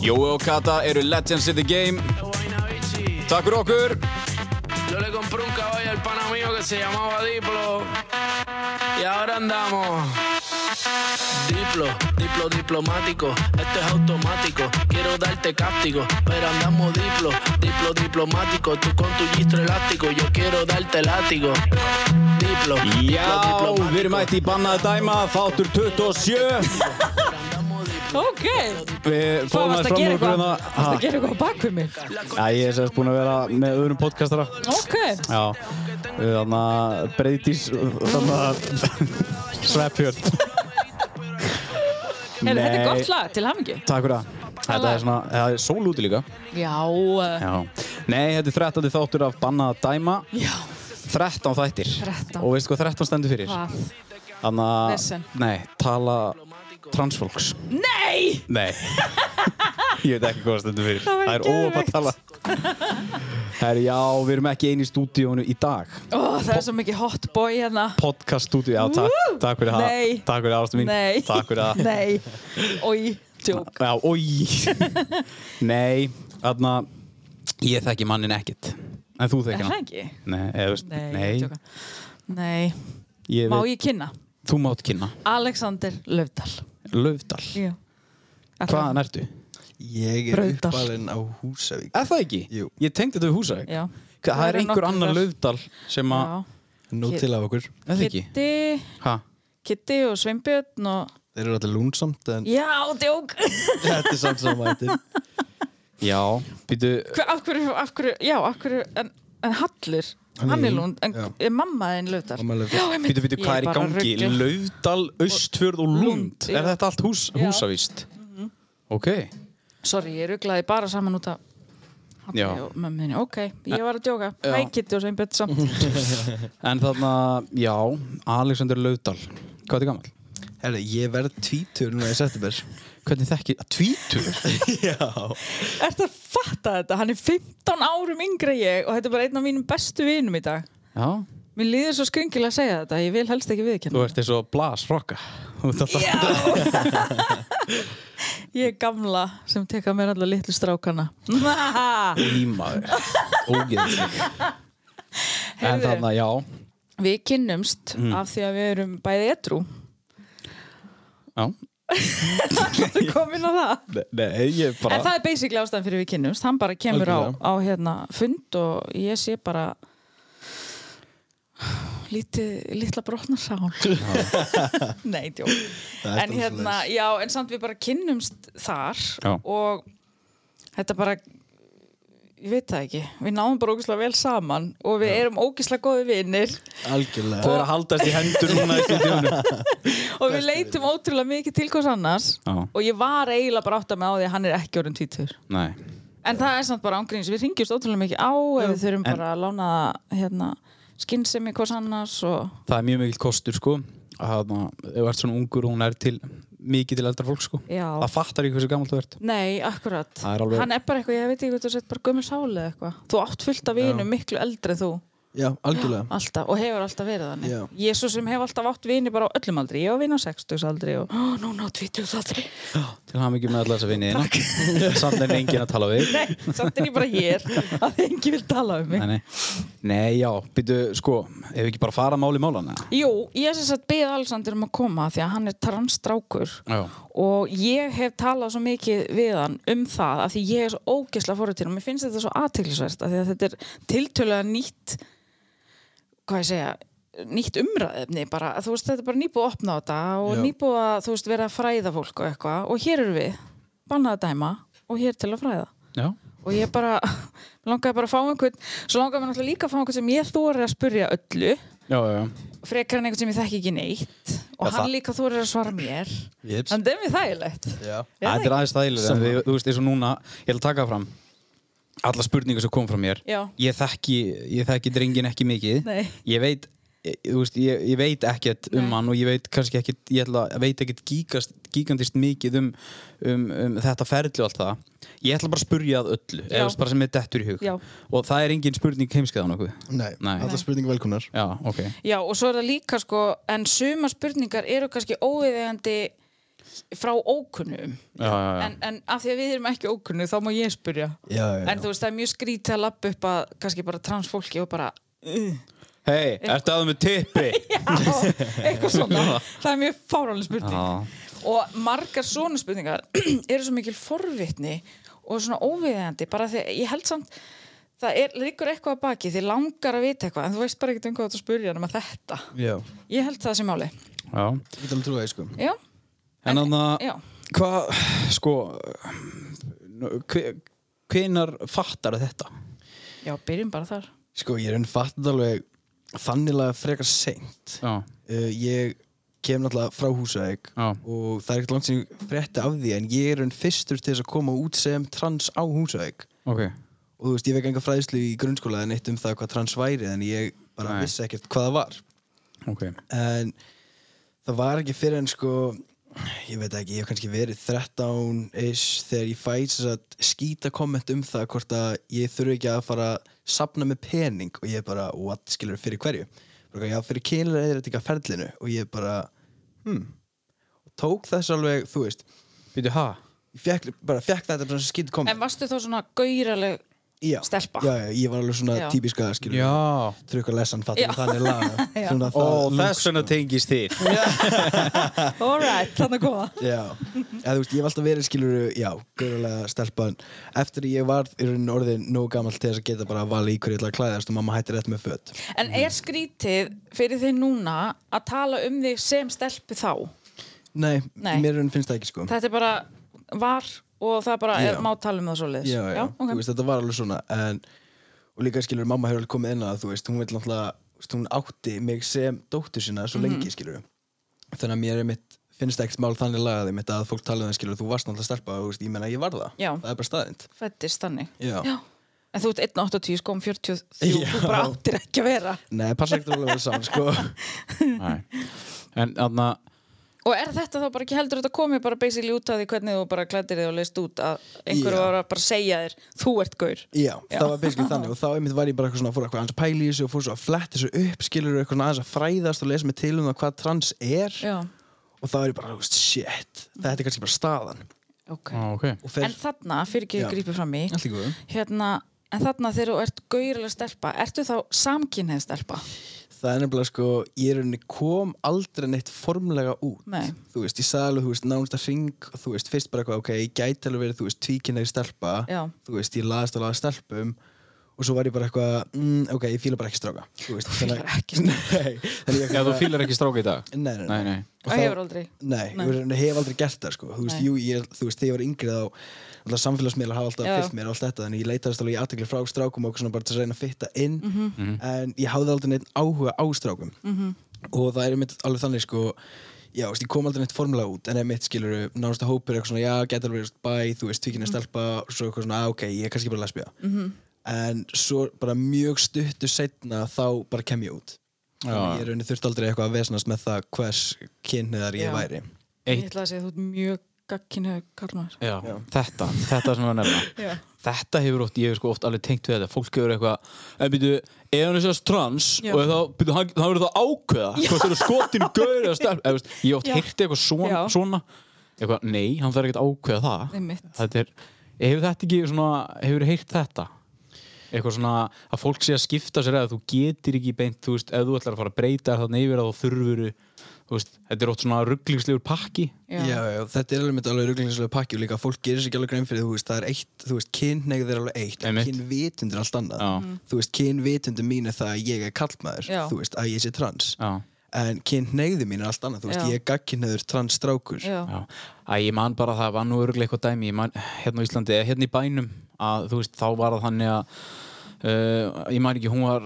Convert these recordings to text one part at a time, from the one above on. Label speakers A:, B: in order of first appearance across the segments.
A: Jói og Kata eru legends in the game. Takk fyrir okkur.
B: Yo le compré un caballo al pana mío que se llamaba Diplo. Y ahora andamos. Diplo, diplo diplomático, esto es automático. Quiero darte cáptico, pero andamos diplo, diplo diplomático. Tú con tu gistro elástico, yo quiero darte látigo. Diplo,
A: Já, við erum ætti í bannaða dæma, þáttur 27.
C: Ok,
A: Við
C: hvað
A: fórum aðeins
C: varst að
A: fram
C: gera
A: úr
C: eitthvað?
A: grunna.
C: Varst að gera eitthvað á bak við mig?
A: Já, ég er sérst búin að vera með öðrum podcastara.
C: Ok,
A: Já, við þarna breytís, þarna sveppjörn.
C: Heyrðu, þetta er gott lag til hamingi.
A: Takk fyrir það. Þetta er svona, það er sól úti líka.
C: Já, eh,
A: Já. Nei, þetta er 13. þáttur af Bannaða dæma.
C: já,
A: 13 þættir.
C: 13.
A: Og veistu hvað 13 stendur fyrir?
C: hvað?
A: Þannig að...
C: Vesen.
A: Nei, tala transfólks.
C: Nei!
A: Nei. Ég veit ekki hvað það stendur fyrir.
C: Það væri
A: er óöf að
C: geðveikt.
A: tala. Herri, já, við erum ekki einu í stúdíónu í dag.
C: Ó, það er svo mikið hot boy hérna.
A: Podcast stúdíó, já, takk,
C: Woo!
A: takk fyrir það.
C: Nei.
A: Takk fyrir það, ástu mín.
C: Nei.
A: Takk fyrir það.
C: Nei, oi, tjók.
A: Já, oi. Nei, þarna, ég þekki mannin ekkit. En þú
C: Er
A: þekki
C: það
A: hann.
C: ekki?
A: Nei, eða, veist,
C: Nei,
A: nei,
C: ég tjóka. Nei,
A: ég
C: má
A: veit,
C: ég kynna?
A: þú mátt kynna.
C: Alexander Löfdal.
A: Laufdal,
C: Já.
A: hvaðan ertu?
D: Ég er
C: Brautar.
D: uppalinn á Húsavík
A: Er það ekki?
D: Jú.
A: Ég tengdi þetta við Húsavík.
C: Já.
A: Hva- Það
C: Það
A: er
C: eru
A: einhver
C: nokkur
A: annar
C: þar.
A: Laufdal sem að,
C: Já.
D: Nó
C: Hér-
D: til af okkur
A: er það ekki?
C: Kitty,
A: Hæ?
C: Kitty og Sveinbjörn og...
D: Þeir eru alltaf lúnsamt en
C: Já, djók.
D: þetta er samt saman mæti
A: Já, býtu,
C: Hver, af hverju, af hverju, já, af hverju, en, en Hallur,
D: Hann er
C: hann er
D: lund,
C: lund, en
D: já.
C: er mamma þinn Löfdal?
D: Mamma Laufdal.
C: Já, einmitt.
A: býtu, býtu,
C: Ég
A: hvað er í
C: bara
A: gangi?
C: rugluð.
A: Laufdal, Austfjörð og
C: Lund,
A: Lund. Er
C: já.
A: þetta allt hús,
C: Já. Mhm.
A: húsavíst? Ok.
C: Sorry, ég rugglaði bara saman út af Halli
A: Já.
C: og mömmu þinni, ok, ég var að djóka
A: Já.
C: Hæ, Kitty og Sveinbjörn samt
A: En þarna, já, Alexander Laufdal. Hvað er gammal?
D: Herra, ég verð tvítur núna í september
A: Hvernig þekki, að tvítur?
D: Já
C: Ertu að fatta þetta? Hann er 15 árum yngre en ég og þetta er bara einn af mínum bestu vinum í dag
A: Já,
C: Mér líður svo skringilega að segja þetta, ég vil helst ekki
A: þú
C: viðkynna
A: ert eins og blasrocka. Þú ert alltaf...
C: Ég er gamla sem teka mér alla litlu strákana
A: Ímaður. Ógeðsleg. En
C: Heyrðu.
A: þarna, já.
C: Við kynnumst
D: Mm.
C: af því að við erum bæði edrú
A: Já.
C: Þú komin á það
A: Nei, Nei, ég bara...
C: En það er basically ástæðan fyrir við kynnumst Hann bara kemur á,
D: Algjörlega.
C: á hérna, fund og ég sé bara lítið, litla brotnarsál Nei, djó
D: Það er
C: En hérna, já, en samt við bara kynnumst þar
A: Já.
C: og þetta bara ég veit það ekki, við náum bara ógislega vel saman og við erum ógislega góði vinnir
A: Þau
D: Algjörlega
A: eru að haldast í hendur núna í stúdíunum.
C: og við leitum ótrúlega mikið til hvers annars
A: Já.
C: og ég var eiginlega bara átt að með á því að hann er ekki orðin títur
A: Nei.
C: En það er samt bara ángríns, við ringjumst ótrúlega mikið á ef við þurfum
A: en-
C: bara að lána hérna, skinnsemi hvers annars og
A: Það er mjög mikill kostur, sko. Að það, ef þú ert svona ungur og hún er til, mikið til eldra fólk, sko.
C: Já.
A: Það fattar ekki hversu gammal þú ert.
C: Nei, akkurat.
A: Það er alveg-
C: Hann er bara eitthvað, ég veit ekki hvað þú sett bara gömur sáli eða eitthvað. Þú átt fullt af vinum miklu eldri en þú,
D: Já, algjörlega
C: alltaf, og hefur alltaf verið þannig.
D: Já.
C: Ég svo sem hef alltaf átt vini bara á öllum aldri, ég á vini á 60 aldri og ó, núna á 20 aldri.
A: Til hann ekki með alla þessa vinni þína. Samt er enginn að tala við.
C: Nei, samt er ég bara hér að engi vil tala um mig.
A: Nei, nei. Nei, já, byrju, sko, ef við ekki bara fara máli málana.
C: Jú, ég sem sagt beðið Alexander um að koma því að hann er transstrákur.
A: Já.
C: og ég hef talað svo mikið við hann um það af því ég er svo ógeðslega fórutin og mér finnst þetta svo aðteglisvert af því að þetta er tiltölulega nýtt hvað ég segja nýtt umræðefni bara, þú veist þetta er bara nýbúið að opna á þetta og
D: Já.
C: nýbúið að þú veist vera að fræða fólk og eitthvað og hér eru við, bannað að dæma og hér til að fræða
A: Já.
C: og ég bara, langaði bara að fá einhvern svo langaði mér náttúrulega líka að fá einhvern sem ég þóri að spurja öllu
A: Já, já, já.
C: frekar en einhvern sem ég þekki ekki neitt og
D: Já,
C: hann
D: það-
C: líka þú að svara mér
D: Jeps.
C: þannig er mér þægilegt
D: Já.
C: Já,
A: Þetta er aðeins þægilega,
D: Sammála.
A: við, þú veist, eins og núna, ég ætla að taka það fram alla spurningar sem kom frá mér
C: Já.
A: ég þekki, ég þekki drengin ekki mikið
C: Nei.
A: ég veit ég, þú veist, ég, ég veit ekkert um
C: Nei.
A: hann og ég veit kannski ekkert, ég ætla, að- veit ekkert gíkast, gíkandist mikið um, um, um þetta ferli og allt það ég ætla bara að spurja að öllu
C: Já.
A: eða þú veist, bara sem er dettur í hug
C: Já.
A: og það er engin spurning heimskeðan okkur
E: Nei,
A: Nei.
E: allar
C: Nei.
E: spurningu velkomnar
A: Já, ok
C: Já, og svo er það líka sko, en suma spurningar eru kannski óviðegandi frá ókunnum.
A: Já, já, já.
C: En, en af því að við erum ekki ókunnu, þá má ég spyrja.
E: Já, já, já.
C: En þú veist, það er mjög skrítið að lappa upp að kannski bara transfólki og bara,
A: Hei, ertu aðeins með tippi?
C: já, eitthvað svona. það er mjög fáránlega spurning.
A: Já.
C: Og margar svona spurningar eru svo mikil forvitni og svona óviðegandi, bara því ég held samt, það er, liggur eitthvað að baki, þið langar að vita eitthvað, en þú veist bara ekkert um hvað þú ert að spurja nema þetta.
D: Já.
C: Ég held það sem máli.
A: Já.
D: Ég get alveg trúið það, sko.
C: Já,
A: En þannig
D: Ah.
C: já.
A: Hvað, sko hvenar fattar þetta?
C: Já, byrjum bara þar.
D: Sko, ég er enn fattin alveg þannilega frekar seint.
A: Já,
D: Uh, ég kem náttúrulega frá Húsavík
A: Já.
D: og það er ekkert langt sem ég frétti af því en ég er enn fyrstur til þess að koma út sem trans á Húsavík.
A: ok
D: og þú veist, ég vekka enga fræðslu í grunnskóla en eitt um það hvað trans væri en ég bara
A: Nei.
D: vissi ekkert hvað það var
A: Ok,
D: en það var ekki fyrir en sko ég veit ekki, ég hef kannski verið 13-ish þegar ég fæ þess að skýta komment um það hvort að ég þurfi ekki að fara að sapna með pening og ég bara, what, skilur fyrir hverju bara, já, fyrir kynlega eða eitthvað ferlinu og ég bara, hmm og tók þess alveg, þú veist
A: býtu ha?
D: ég fekk, bara fekk þetta bara skýta
C: En
D: komment
C: varstu þá svona gauraleg
D: já,
C: stelpa?
D: já, já, ég var alveg svona
C: Já.
D: típiska, skilur
A: Já
D: trukka lesan
C: Já.
D: fattum þannig laga
C: Já.
D: svona
A: Ó,
D: það
A: þess vegna tengist þið
C: All right, þannig að koma.
D: já, eða þú veist, ég hef alltaf verið skilur já, gaurulega stelpan eftir að ég var í rauninni orðin nóg gammal til þess að geta bara að vala í hverju ég ætla að klæðast og mamma hætti rétt með fött
C: En er skrítið fyrir þig núna að tala um þig sem stelpu þá?
D: nei,
C: Nei.
D: mér í rauninni finnst það ekki sko
C: Þetta er bara var og það bara er
D: Já.
C: má tala um það svo leiðis.
D: já, já,
C: ok.
D: þú veist, þetta var alveg svona en, og líka skilur, mamma hefur alveg komið inn að þú veist, hún vil náttúrulega, þú veist, hún átti mig sem dóttur sína svo
C: Mhm.
D: lengi, skilur þannig að mér er mitt finnst ekkert mál þannig lagaði mitt að fólk tala um það skilur þú varst náttúrulega stelpa og þú veist, ég menna ég var það
C: Já.
D: það er bara staðind
C: Fættist þannig.
D: Já.
C: En þú ert 1.80 sko um 43,
D: Já.
C: þú bara áttir ekki að vera.
D: Nei, passa ekkert alveg vel saman, sko.
A: Nei. En þarna
C: Og er þetta þá bara ekki heldur þetta komið bara basically út af því hvernig þú bara klættir þig og leist út að einhverju
D: Já.
C: var að bara segja þér, þú ert gaur.
D: Já,
C: Já.
D: það var basically þannig og þá einmitt var ég bara eitthvað svona, fór eitthvað aðeins að pæla í þessu og fór svo að fletta þessu upp, skilur eitthvað svona aðeins að fræðast og lesa mig til um það hvað trans er
C: Já,
D: og þá er ég bara, þú veist, shit, þetta er kannski bara staðan.
C: ok.
A: Já, ok
D: Og fer,
C: En þarna, fyrir ekki
D: Já.
C: að grípa fram í,
D: allt í góðu.
C: hérna, en þarna þegar þú ert gaurilega stelpa, ertu þá samkynneið stelpa?
D: Það er nefnilega, sko, ég er henni kom aldrei neitt formlega út.
C: Nei.
D: Þú veist, ég sagði alveg, þú veist, nánsta hring, þú veist, fyrst bara eitthvað, ok, ég gæti alveg verið, þú veist, tvíkynnaði stelpa,
C: Já.
D: þú veist, ég laðist og laðist stelpum og svo var ég bara eitthvað, mm, ok, ég fíla bara ekki stráka. Þú veist,
C: Fílar
D: þannig-
C: ekki stelpa.
D: Nei, þannig ég
A: Já, þú fílar ekki stráka í dag?
D: Nei, nei,
A: Nei, nei
C: Og
D: Og þá-
C: hefur aldrei.
D: Nei,
C: Nei.
D: nei. ég hef aldrei gert það sko Þú veist,
C: Nei.
D: jú, ég, þú veist þegar ég var yngri þá alltaf samfélagsmiðlar hafa alltaf
C: Já.
D: fyllt mér og allt þetta þannig ég leitaðist alveg í aðtekli frá strákum og svona bara til að reyna að fitta inn
C: Mhm.
D: en ég hafði aldrei neitt áhuga á strákum -hmm. og það er mitt alveg þannig sko Já, þú veist, ég kom aldrei neitt formulega út en ef mitt skilur nánast að hópur er eitthvað svona já, geta alveg verið bæ, þú veist,
C: Mhm.
D: tvíkinni stelpa og svo eitthvað svona, ah, ok, ég er kannski bara lesbía -hmm. en svo bara mjög stuttu setna þá bara kem ég út
A: Já.
D: Þannig ég raunni þurft aldrei eitthvað að vesnast með það hvers kynniðar ég
C: Já.
D: væri
C: Ég
A: Eitt
C: ætla að segja þú ert mjög gagkinnið karlmaður.
A: Já, þetta, þetta sem var nefna
C: Já.
A: Þetta hefur oft, ég hefur sko oft alveg tengt við þetta Fólk hefur eitthvað, en byrju Ef hann er sérst trans
C: Já.
A: og þá, byrju, hann, hann verður það ákveða Hvort það eru skotinu gaur eða stelp Eða, veist, Ég hef oft
C: Já.
A: hirti eitthvað svona,
C: Já.
A: svona eitthvað, Nei, hann þarf ekkert að ákveða það
C: Einmitt.
A: Þetta er, hefur þetta ekki svona Hefur hirt þetta eitthvað svona að fólk sé að skipta sér eða þú getir ekki beint, þú veist, ef þú ætlar að fara að breyta þér þarna yfir að þú þurfur þú veist, þetta er ótt svona rugglingslegur pakki
D: Já. Já, þetta er alveg mitt alveg ruglingslega pakki og líka fólk gerir sér ekki alveg grein fyrir þú veist, það er eitt, þú veist, kynneigð er alveg eitt en
A: Einmitt.
D: kynvitund er allt annað
A: Já.
D: þú veist, kynvitundum mín er það að ég er kallmaður
C: Mhm. Já.
D: þú veist, að ég sé trans
A: Já.
D: en kynneigðu mín er allt annað, þú veist,
C: Já.
D: ég er gagkinneiður trans strákur
C: Já.
A: Já, að ég man bara að það var nú örgulega eitthvað dæmi ég man, hérna á Íslandi, eða hérna í bænum eh, að þú veist, þá var það þannig að uh, ég man ekki, hún var,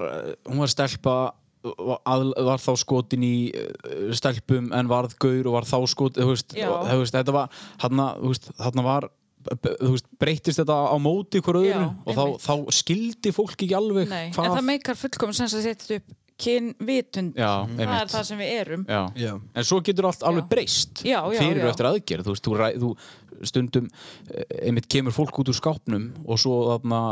A: hún var stelpa að, var þá skotin í uh, stelpum en varð gaur og var þá skotin þú veist,
C: Já.
A: og, þú veist þetta var þarna, þú veist, þarna var b- þú veist, breytist þetta á móti hver
C: Já,
A: öðru og þá,
C: einmitt.
A: þá skildi fólk ekki alveg
C: Nei, en
A: hvað
C: það meikar fullkomun sem að setja upp kynvitund,
A: já,
C: það er
A: einmitt
C: það sem við erum
A: Já.
D: Já.
A: En svo getur allt alveg
C: Já.
A: breyst
C: Já, já,
A: fyrir
C: já.
A: og eftir aðgerð þú, veist, þú, ræ, þú stundum eh, einmitt kemur fólk út úr skápnum og svo þarna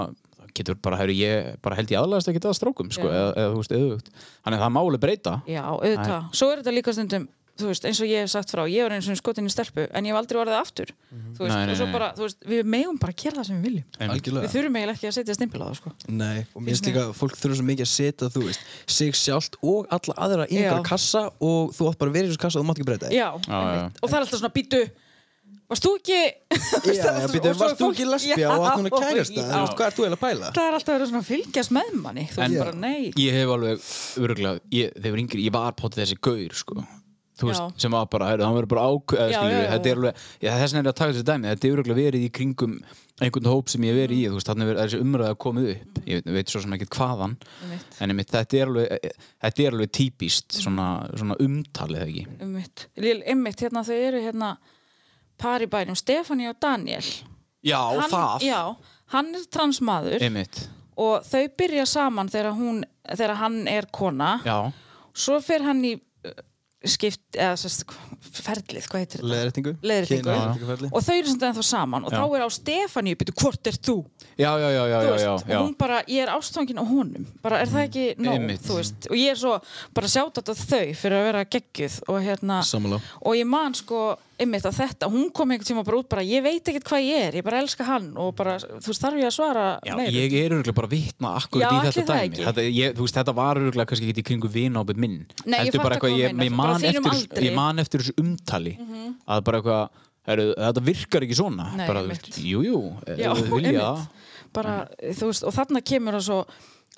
A: getur bara, heru, ég, bara held ég aðlæðast ekki það að strákum sko,
C: Já.
A: eða, eða þú veist, eðugt Þannig að það má alveg breyta
C: Já, auðvitað. Svo er þetta líka stundum, þú veist, eins og ég hef sagt frá, ég var eins og skotin í stelpu, en ég hef aldrei orðið aftur. Þú veist,
A: Mhm. Nei, nei,
C: og svo
A: nei.
C: bara, þú veist, við megum bara að gera það sem við viljum. Við
D: algjörlega
C: þurfum eiginlega ekki að setja stimpil á það, sko.
D: Nei, og mér
C: Finnst
D: finnst líka að fólk þurfa svo mikið að setja þú veist, sig sjálft og alla aðra í einhverja
C: Já.
D: kassa og þú átt bara að vera í þessu kassa og þú mátt ekki breyta
C: Já,
A: Já, já.
C: einmitt. og það er alltaf svona, býtu, varst þú ekki...
D: þig Já, já, býtum, varst þú ekki lesbja og átt núna kærasta
C: Já.
D: Þú veist, Hvað ert þú eiginlega að pæla?
C: Það er alltaf verið svona að fylgjast með manni, þú
A: En-
C: veist bara, nei.
A: Ég hef alveg, örgulega, ég, þegar ég var yngri, ég var potið þessi gaur, sko Þú
C: Já.
A: veist, sem var bara, heru, hann verður bara ákveð
C: Já, já, já.
A: þetta er alveg, já, þess vegna er ég að taka þessi dæmi þetta er örgulega verið í kringum einhvern hóp sem ég hef verið í, þú veist, þannig er þessi umræða komið upp, ég veit, veit svo sem ekkert hvaðan
C: Mm. Einmitt.
A: en einmitt, þetta er alveg þetta er alveg típist, svona, svona umtalið ekki,
C: Einmitt. Lil- Einmitt, hérna þau eru hérna par í bænum, Stefani og Daniel.
A: já,
C: Hann-
A: það
C: Já, hann er transmaður.
A: einmitt,
C: og þau byrja saman þegar, hún, þegar hann er kona
A: já,
C: svo fer hann í uh, skipt, eða sérst, ferlið, hvað heitir þetta?
D: Leðrætingu
C: Leiðréttingu.
D: Leiðrætingu
C: og þau eru samt ennþá saman og
A: Já.
C: þá er á Stefáníu byrju, hvort er þú?
A: já, já, já, já,
C: Þú
A: já,
C: veist,
A: já,
C: og
A: já.
C: hún bara, ég er ástfangin á honum bara er það ekki nóg,
A: Einmitt.
C: þú veist og ég er svo, bara sjátt á þau fyrir að vera geggjuð og hérna
D: Sammála
C: og ég man sko einmitt að þetta, hún kom einhvern tíma bara út bara, ég veit ekkert hvað ég er, ég bara elska hann og bara, þú veist, þarf ég að svara
A: Já,
C: meiru?
A: ég er örgulega bara vitna akkurat
C: Já,
A: í
C: ætli
A: þetta
C: það
A: dæmi
C: ekki.
A: þetta, ég, þú veist, þetta var örgulega kannski ekki í kringu vinábið minn
C: Nei, ég
A: Heldur
C: fatta
A: bara eitthvað,
C: hvað þú
A: ég,
C: meinar,
A: ég,
C: bara á
A: man
C: þínum
A: eftir,
C: aldri. Mhm.
A: ég man eftir þessu umtali að bara eitthvað heru, þetta virkar ekki svona
C: Nei,
A: bara, þú
C: einmitt.
A: veist, jú, jú,
C: Já,
A: ef þau vilja það.
C: einmitt. bara, þú veist, og þarna kemur það svo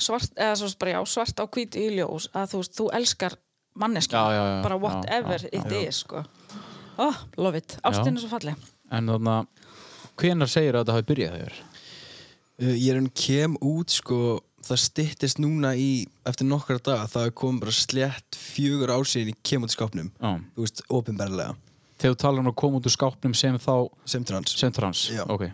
C: svart, eða svo bara já, svart á hvítu í ljós að þú veist, þú elskar manneski,
A: Já, já, já,
C: bara
A: já,
C: whatever
A: já,
C: it is, sko oh, love it, ástin er svo falleg
A: en þannig að hvenar segir að þetta hafi byrjað þegar
D: Uh, Ég er hann kem út sko það styttist núna í eftir nokkra daga það er komið bara slétt fjögur ár síðan ég kem út í skápnum
A: Já.
D: þú veist, ofinberlega
A: þegar þú talar um að koma út úr skápnum sem þá
D: sem trans
A: sem trans
D: Já.
A: ok.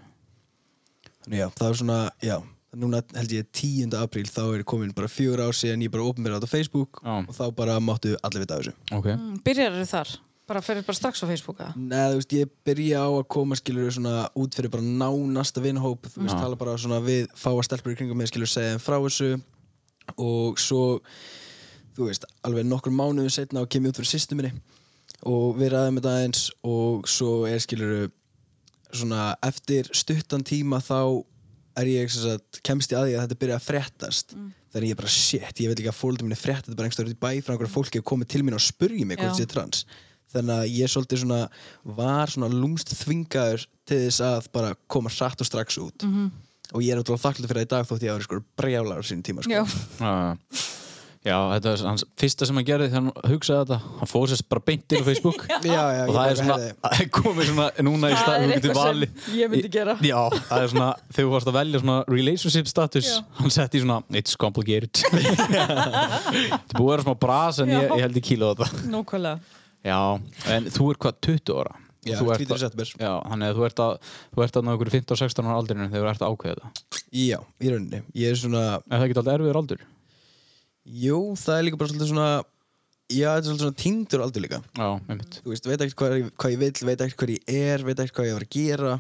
D: Þannig já, það er svona, já núna held ég 10. apríl þá er komin bara fjögur ár síðan ég bara ofinberlega á Facebook
A: Já.
D: og þá bara máttu allir vita af þessu
A: ok
C: Mm, byrjar eru þar, bara fyrir bara strax á Facebooka
D: Nei, þú veist, ég byrja á að koma skilur svona út fyrir bara nánasta vinhóp þú veist, tala bara svona við fáa stelpur í kringum með skilur segja þeim frá þessu og svo þú veist, alveg nokkur mánuðum setna og kem ég út fyrir sýstu minni og við ræðum þetta aðeins og svo er skilur svona eftir stuttan tíma þá er ég sem sagt, kemst í aði að þetta byrja að fréttast
C: Mm.
D: þannig ég er bara shit, ég veit líka að fólkið minni frétta þetta bara einhverjum í bæ frá einhverja fólki að komið til mín og spurgi mig hvort
C: Já.
D: þetta er trans þannig að ég svolítið svona var svona lúmst þvingaður til þess að bara koma satt og strax út
C: Mhm.
D: -hmm. og ég er útrúlega þakklæður fyrir það í dag þótt ég að vera sko brjálar á sínum tíma sko.
C: já,
A: Já, já. Ah, já, þetta er hans fyrsta sem hann gerði þegar hann hugsaði þetta hann fór sér bara beint inn á Facebook
D: já,
A: og
D: já, ég
A: það
D: bara,
A: er svona,
D: heyrðu,
A: komið svona núna í
C: Það
A: stað
C: er
A: þú getur
C: eitthvað sem
A: valið-
C: ég myndi gera.
A: Já, það er svona, þegar þú varst að velja svona relationship status,
C: Já.
A: hann setti í svona it's complicated Þetta er búið að vera smá bras en ég,
C: Já.
A: ég held ég kíla á þetta
C: nókvælega
A: Já, en þú er hvað 20 ára
D: Já,
A: Þú ert
D: 20
A: að-
D: september.
A: Já, þannig að þú ert að þú ert að ná ykkur 15-16 ára aldrinu þegar þú ert að ákveða þetta
D: já, í rauninni ég er svona,
A: En það er ekki alltaf erfiður aldur
D: jú, það er líka bara svolítið svona já, þetta er svolítið svona týndur aldur líka
A: Já, einmitt
D: þú veist, veit ekkert hvað, ég- hvað ég vil, veit ekkert hvað ég er, veit ekkert hvað ég var að gera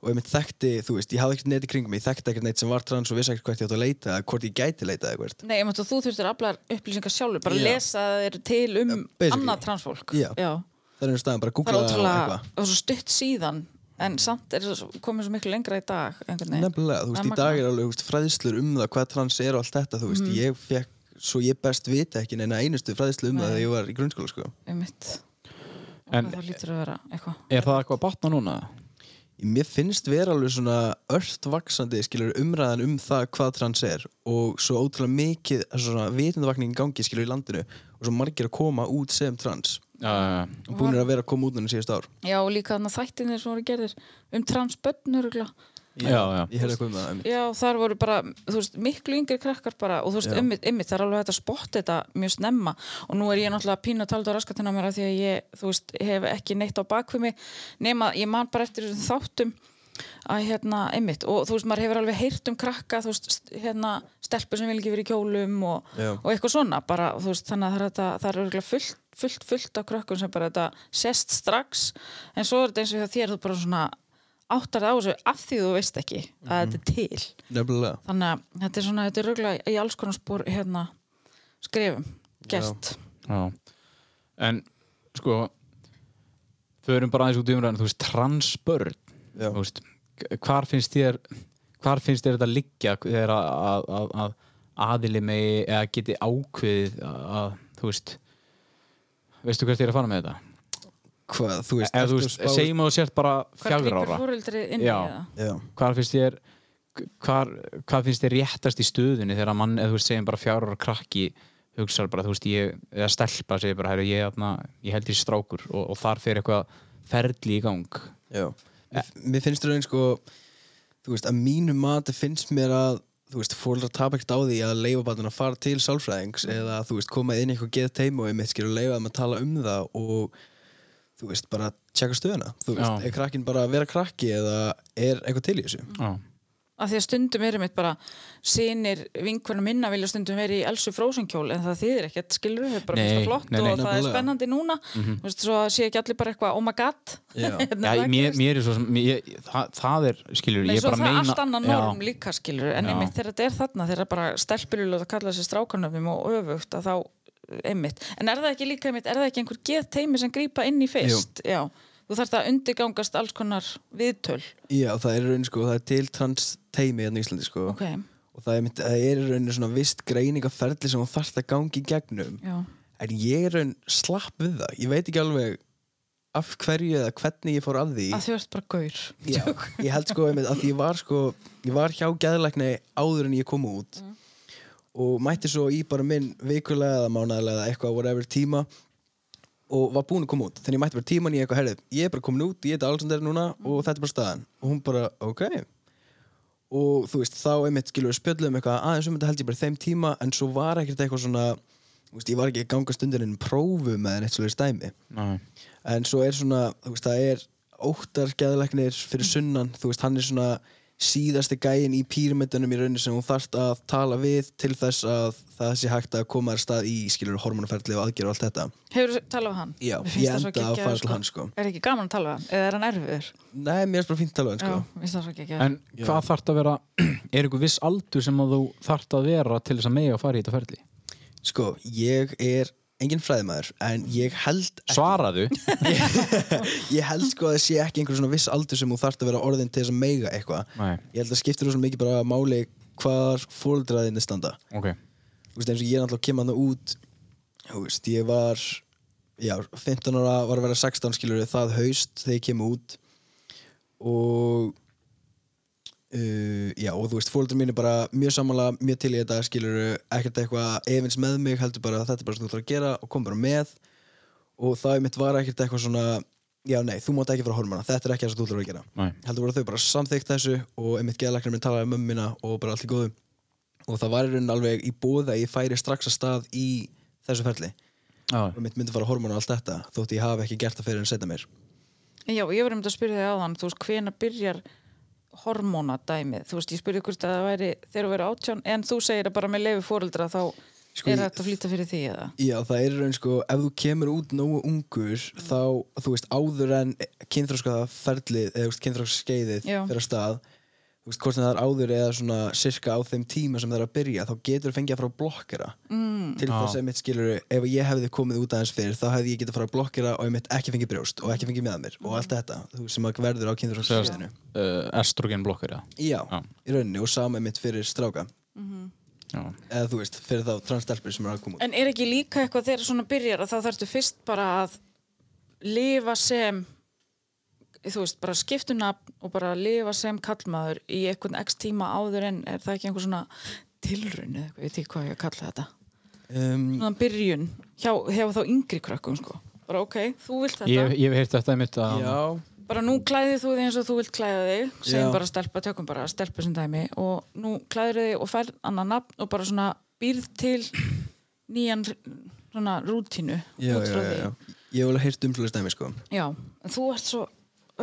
D: og ég mitt þekkti, þú veist, ég hafði ekkert neitt í kringum mig, ég þekkti ekkert neitt sem var trans og vissi ekkert hvert ég átt að leita eða hvort ég gæti leita eða hvert.
C: nei, ég mættu að þú þurftir að afla upplýsingar sjálfur bara
D: Já.
C: lesa þeir til um
D: basically.
C: annað transfólk
D: Já. Það er einu staðan
C: það
D: bara að
C: er
D: googla og
C: ótrúlega,
D: eitthvað.
C: það er svo stutt síðan en samt er það svo- komið svo miklu lengra í dag einhvern veginn.
D: Nefnilega, þú veist,
C: Það
D: í
C: magnað.
D: dag
C: Mhm.
D: er alveg þú veist, fræðslur um það hvað trans er og allt þetta, þú veist, ég fekk, svo ég best vita ekki neina einustu fræðslu um það þegar ég var í grunnskóla, sko.
C: Einmitt.
A: En-
C: það lítur að vera eitthvað
A: Er það eitthvað að batna núna?
D: Mér finnst vera alveg svona örtvaksandi, skilur, umræðan um það hvað trans er og svo ótrúlega mikið, svona, vitundavakning í gangi, skilur, í landinu og svo margir að koma út sem trans.
A: Já, já, já
D: og búinir að vera að koma út núna síðust ár
C: já og líka þarna þættinir sem voru gerðir um transbönn örugla
D: Ég-
F: Já, já.
D: Ég hefði eitthvað um það einmitt.
C: Já, þar voru bara, þú veist, miklu yngri krakkar bara og þú veist,
D: Já.
C: ymmið, ymmið, það er alveg hægt að spotta þetta mjög snemma og nú er ég náttúrulega pínu að tala þetta á raskatina mér af því að ég, þú veist, hef ekki neitt á bakvimi nema, ég man bara eftir þessum þáttum að hérna, ymmið, og þú veist, maður hefur alveg heyrt um krakka, þú veist, st- hérna stelpur sem vil ekki verið í kjólum og,
D: Já.
C: og eitthvað svona, bara, þú veist, þannig að það er, þetta, það er örugglega fullt, fullt, fullt af krökkum sem bara þetta sest strax en svo er þetta eins og hjá þér, þú bara svona áttar það á þessu af því þú veist ekki að þetta
F: Mhm.
C: er til
D: Nefnilega.
C: þannig að þetta er svona, þetta er rauglega í alls konar spór hérna skrifum, gert
F: Já. En sko förum bara aðeins út í umræðan þú veist, transbörn
D: Já.
F: þú veist, k- hvar finnst þér hvar finnst þér þetta liggja þegar að, að, að, að aðili megi eða geti ákveðið að, að þú veist veistu hvert ég er að fara með þetta?
D: Hvað, þú veist,
F: e- eða
D: ertu
F: þú
D: að
F: veist,
D: spá-
F: segjum að þú sért bara
C: hvað
F: fjagra
C: grýpur
F: ára
C: fóröldri inn í
F: Já.
C: það
D: Já,
F: hvar finnst þér hvar, hvað finnst þér réttast í stöðunni þegar að mann, eða þú veist, segjum bara fjárar krakki hugsar bara, þú veist, ég eða stelpa segir bara, herru, ég, atna, ég held ég sé strákur og, og þar fer eitthvað ferli í gang
D: já. Mér, mér finnst raun sko, þú veist, að mínu mati finnst mér að, þú veist, fólk tapa ekkert á því að leifa bara að fara til sálfræðings eða, þú veist, koma inn í eitthvað geð teim og einmitt skilur leifa þeim að tala um það og, þú veist, bara tjekka stöðuna. Þú veist,
F: Já.
D: er krakkin bara að vera krakki eða er eitthvað til í þessu?
A: Mm.
F: Já,
C: að því að stundum erum mitt bara sinir vinkunum minna vilja stundum verið í Elsu Frósenkjól en það þýðir ekkert skilur það er bara
F: Nei,
C: fyrst
F: nei,
C: flott
F: nei, Mhm.
C: og það er
D: nefnilega.
C: spennandi núna þú veist, svo að sé ekki allir bara eitthvað oh my god
D: Já.
C: Hérna,
F: já
C: það
F: mér,
C: gerist.
F: mér er svo sem mér, ég, það, það er, skilur,
C: Nei,
F: ég
C: svo
F: bara
C: það
F: meina
C: er allt annan norm
F: já,
C: líka skilur en
F: Já.
C: einmitt þegar þetta er þarna þegar bara stelpiljulega að kalla sér strákanöfnum og öfugt að þá einmitt en er það ekki líka einmitt, er það ekki einhver geð teimi sem grýpa inn í fyrst Já. þú þarf það að undirgangast alls konar viðtöl
D: Já, það er raun sko, það er til trans teimi hérna í Íslandi sko
C: ok,
D: og það er, mynd, það er raun svona vist greiningaferli sem hún þarf að gangi í gegnum
C: já,
D: en ég er raun slapp við það ég veit ekki alveg af hverju eða hvernig ég fór að því
C: að þú ert bara gaur
D: Já, ég held sko einmitt að ég var sko ég var hjá geðlækni áður en ég kom út og mætti svo í bara minn vikulega eða mánaðlega eða eitthvað whatever tíma og var búin að koma út þannig ég mætti bara tíman í eitthvað herrið ég er bara komin út, ég heiti Alexander núna og þetta er bara staðan og hún bara ok og þú veist þá einmitt skilur við spjöllum eitthvað aðeins um þetta held ég bara í þeim tíma en svo var ekkert eitthvað svona þú veist, ég var ekki að ganga stundin prófum eða neitt svolítið stæmi
F: Nei.
D: en svo er svona, þú veist, það er óttar geðleiknir fyrir sunnan þú veist, hann er svona síðasti gæin í píramidunum í rauninni sem hún þarft að tala við til þess að það sé hægt að koma þér stað í skilur hormonaferðli og aðgerð og allt þetta
C: hefur þú talað við hann?
D: Já,
C: Mér finnst
D: ég
C: það svo
D: endaði á að
C: geggjaður,
D: fara til hans, sko.
C: er ekki gaman að tala við hann? eða er hann erfiður?
D: Nei, mér er bara fínt að tala um,
C: já,
D: sko
C: mér finnst það svo ekki
F: En hvað þarf að vera er einhver viss aldur sem að þú þarf að vera til þess að megi að fara í þetta ferli?
D: Sko, ég er engin fræðmaður en ég held
F: Svaraðu?
D: ég held sko að það sé ekki einhver svona viss aldur sem hún þarft að vera orðin til þess að meiga eitthvað
F: Nei,
D: Ég held að skiptir þú mikið bara máli hvar fóreldraðinni standa
F: ok
D: þú veist, eins og ég náttúrulega kem hann út þú veist, ég var já, 15 ára, var að vera 16 skilur það haust þegar ég kem út og uh, já, og þú veist, fólkdur mín er bara mjög sammála, mjög til í þetta skilur ekkert eitthvað efins með mig heldur bara að þetta er bara sem þú ætlar að gera og kom bara með og það mitt var ekkert eitthvað svona já, nei, þú mátt ekki fara hormona, þetta er ekki það sem þú ætlar að gera
F: Nei.
D: heldur voru þau bara samþykkt þessu og einmitt geðlæknir minn talaði um mömmina og bara allt í góðu og það var í raunin alveg í bóð að ég færi strax að stað í þessu ferli
F: Já,
D: og mitt myndi fara hormón og allt þetta þótt ég hafi ekki gert það fyrir en setja mér
C: Já, ég var um að spyrja þig áðan, þú veist, hvena byrjar hormónadæmið? Þú veist, ég spurði hvort að það væri þegar þú verið átján, en þú segir að bara með leifi fóreldra þá
D: Sko,
C: er
D: ég-
C: þetta að flýta fyrir því eða?
D: Já, það er í raun sko, ef þú kemur út nógu ungur þá, þú veist, áður en kynþróska ferlið, eða kynþróska skeiðið
C: Já.
D: fyrir að stað þú veist, hvort sem það er áður eða svona sirka á þeim tíma sem það er að byrja, þá getur fengið að fara að blokkera mm. til þess að mitt skilur ef ég hefði komið út aðeins fyrir, þá hefði ég getið að fara að blokkera og ég mitt ekki fengið brjóst og ekki fengið meða mér og allt þetta, þú veist, sem að verður á kynþróska
F: Sérst,
D: skeiðinu
F: uh, estrogen blokkar eða?
D: Já,
F: Já.
D: í rauninni og sama mitt fyrir stráka
F: Já.
D: eða þú veist, fyrir þá transstelpur sem er að koma út
C: En er ekki líka eitthvað þegar svona byrjar að þá þarftu fyrst bara að lifa sem þú veist, bara skiptu nafn og bara lifa sem kallmaður í einhvern x tíma áður en er það ekki einhver svona tilraun eða eitthvað, ég veit ekki hvað ég að kalla þetta
D: um,
C: svona byrjun hjá, hjá þá yngri krökkum sko bara ok, þú vilt þetta
F: Ég, ég hef heyrt þetta einmitt að
D: Já,
C: bara nú klæðið þú þig eins og þú vilt klæða þig segjum
D: Já.
C: bara stelpa, tökum bara stelpa sem dæmi og nú klæður þig og færð annan nafn og bara svona býrð til nýjan svona rútínu
D: já,
C: út
D: já,
C: frá
D: já,
C: því.
D: já. Ég hef alveg heyrt um svoleiðis dæmi, sko.
C: Já, en þú ert svo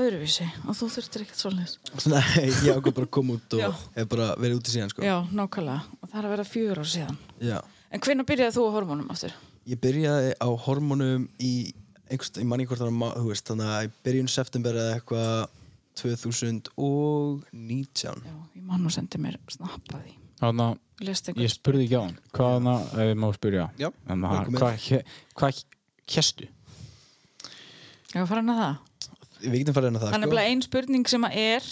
C: öðruvísi og þú þurftir ekkert svoleiðis
D: Nei, ég ákvað bara að koma út
C: Já.
D: og hef bara verið úti síðan, sko.
C: Já, nákvæmlega, og það er að vera fjögur ár síðan
D: Já.
C: En hvenær byrjaði þú á hormónum aftur?
D: Ég byrjaði á hormónum í einhvers, ég manni hvort það var, ma- þú veist, þannig að í byrjun september eða eitthvað 2019.
C: Já, ég man nú sendi mér snappaði
A: Þannig að
C: Lest
A: Ég
C: einhvern
A: spurði ekki á hann Hvað hann að, ef ég má spyrja
D: Já,
A: En það-
D: velkomin.
A: Hvað hé- hvað kjestu?
C: Já, fara hann að það
D: Við getum farið inn á
C: Það
D: það,
C: er
D: sko.
C: nefnilega ein spurning sem að er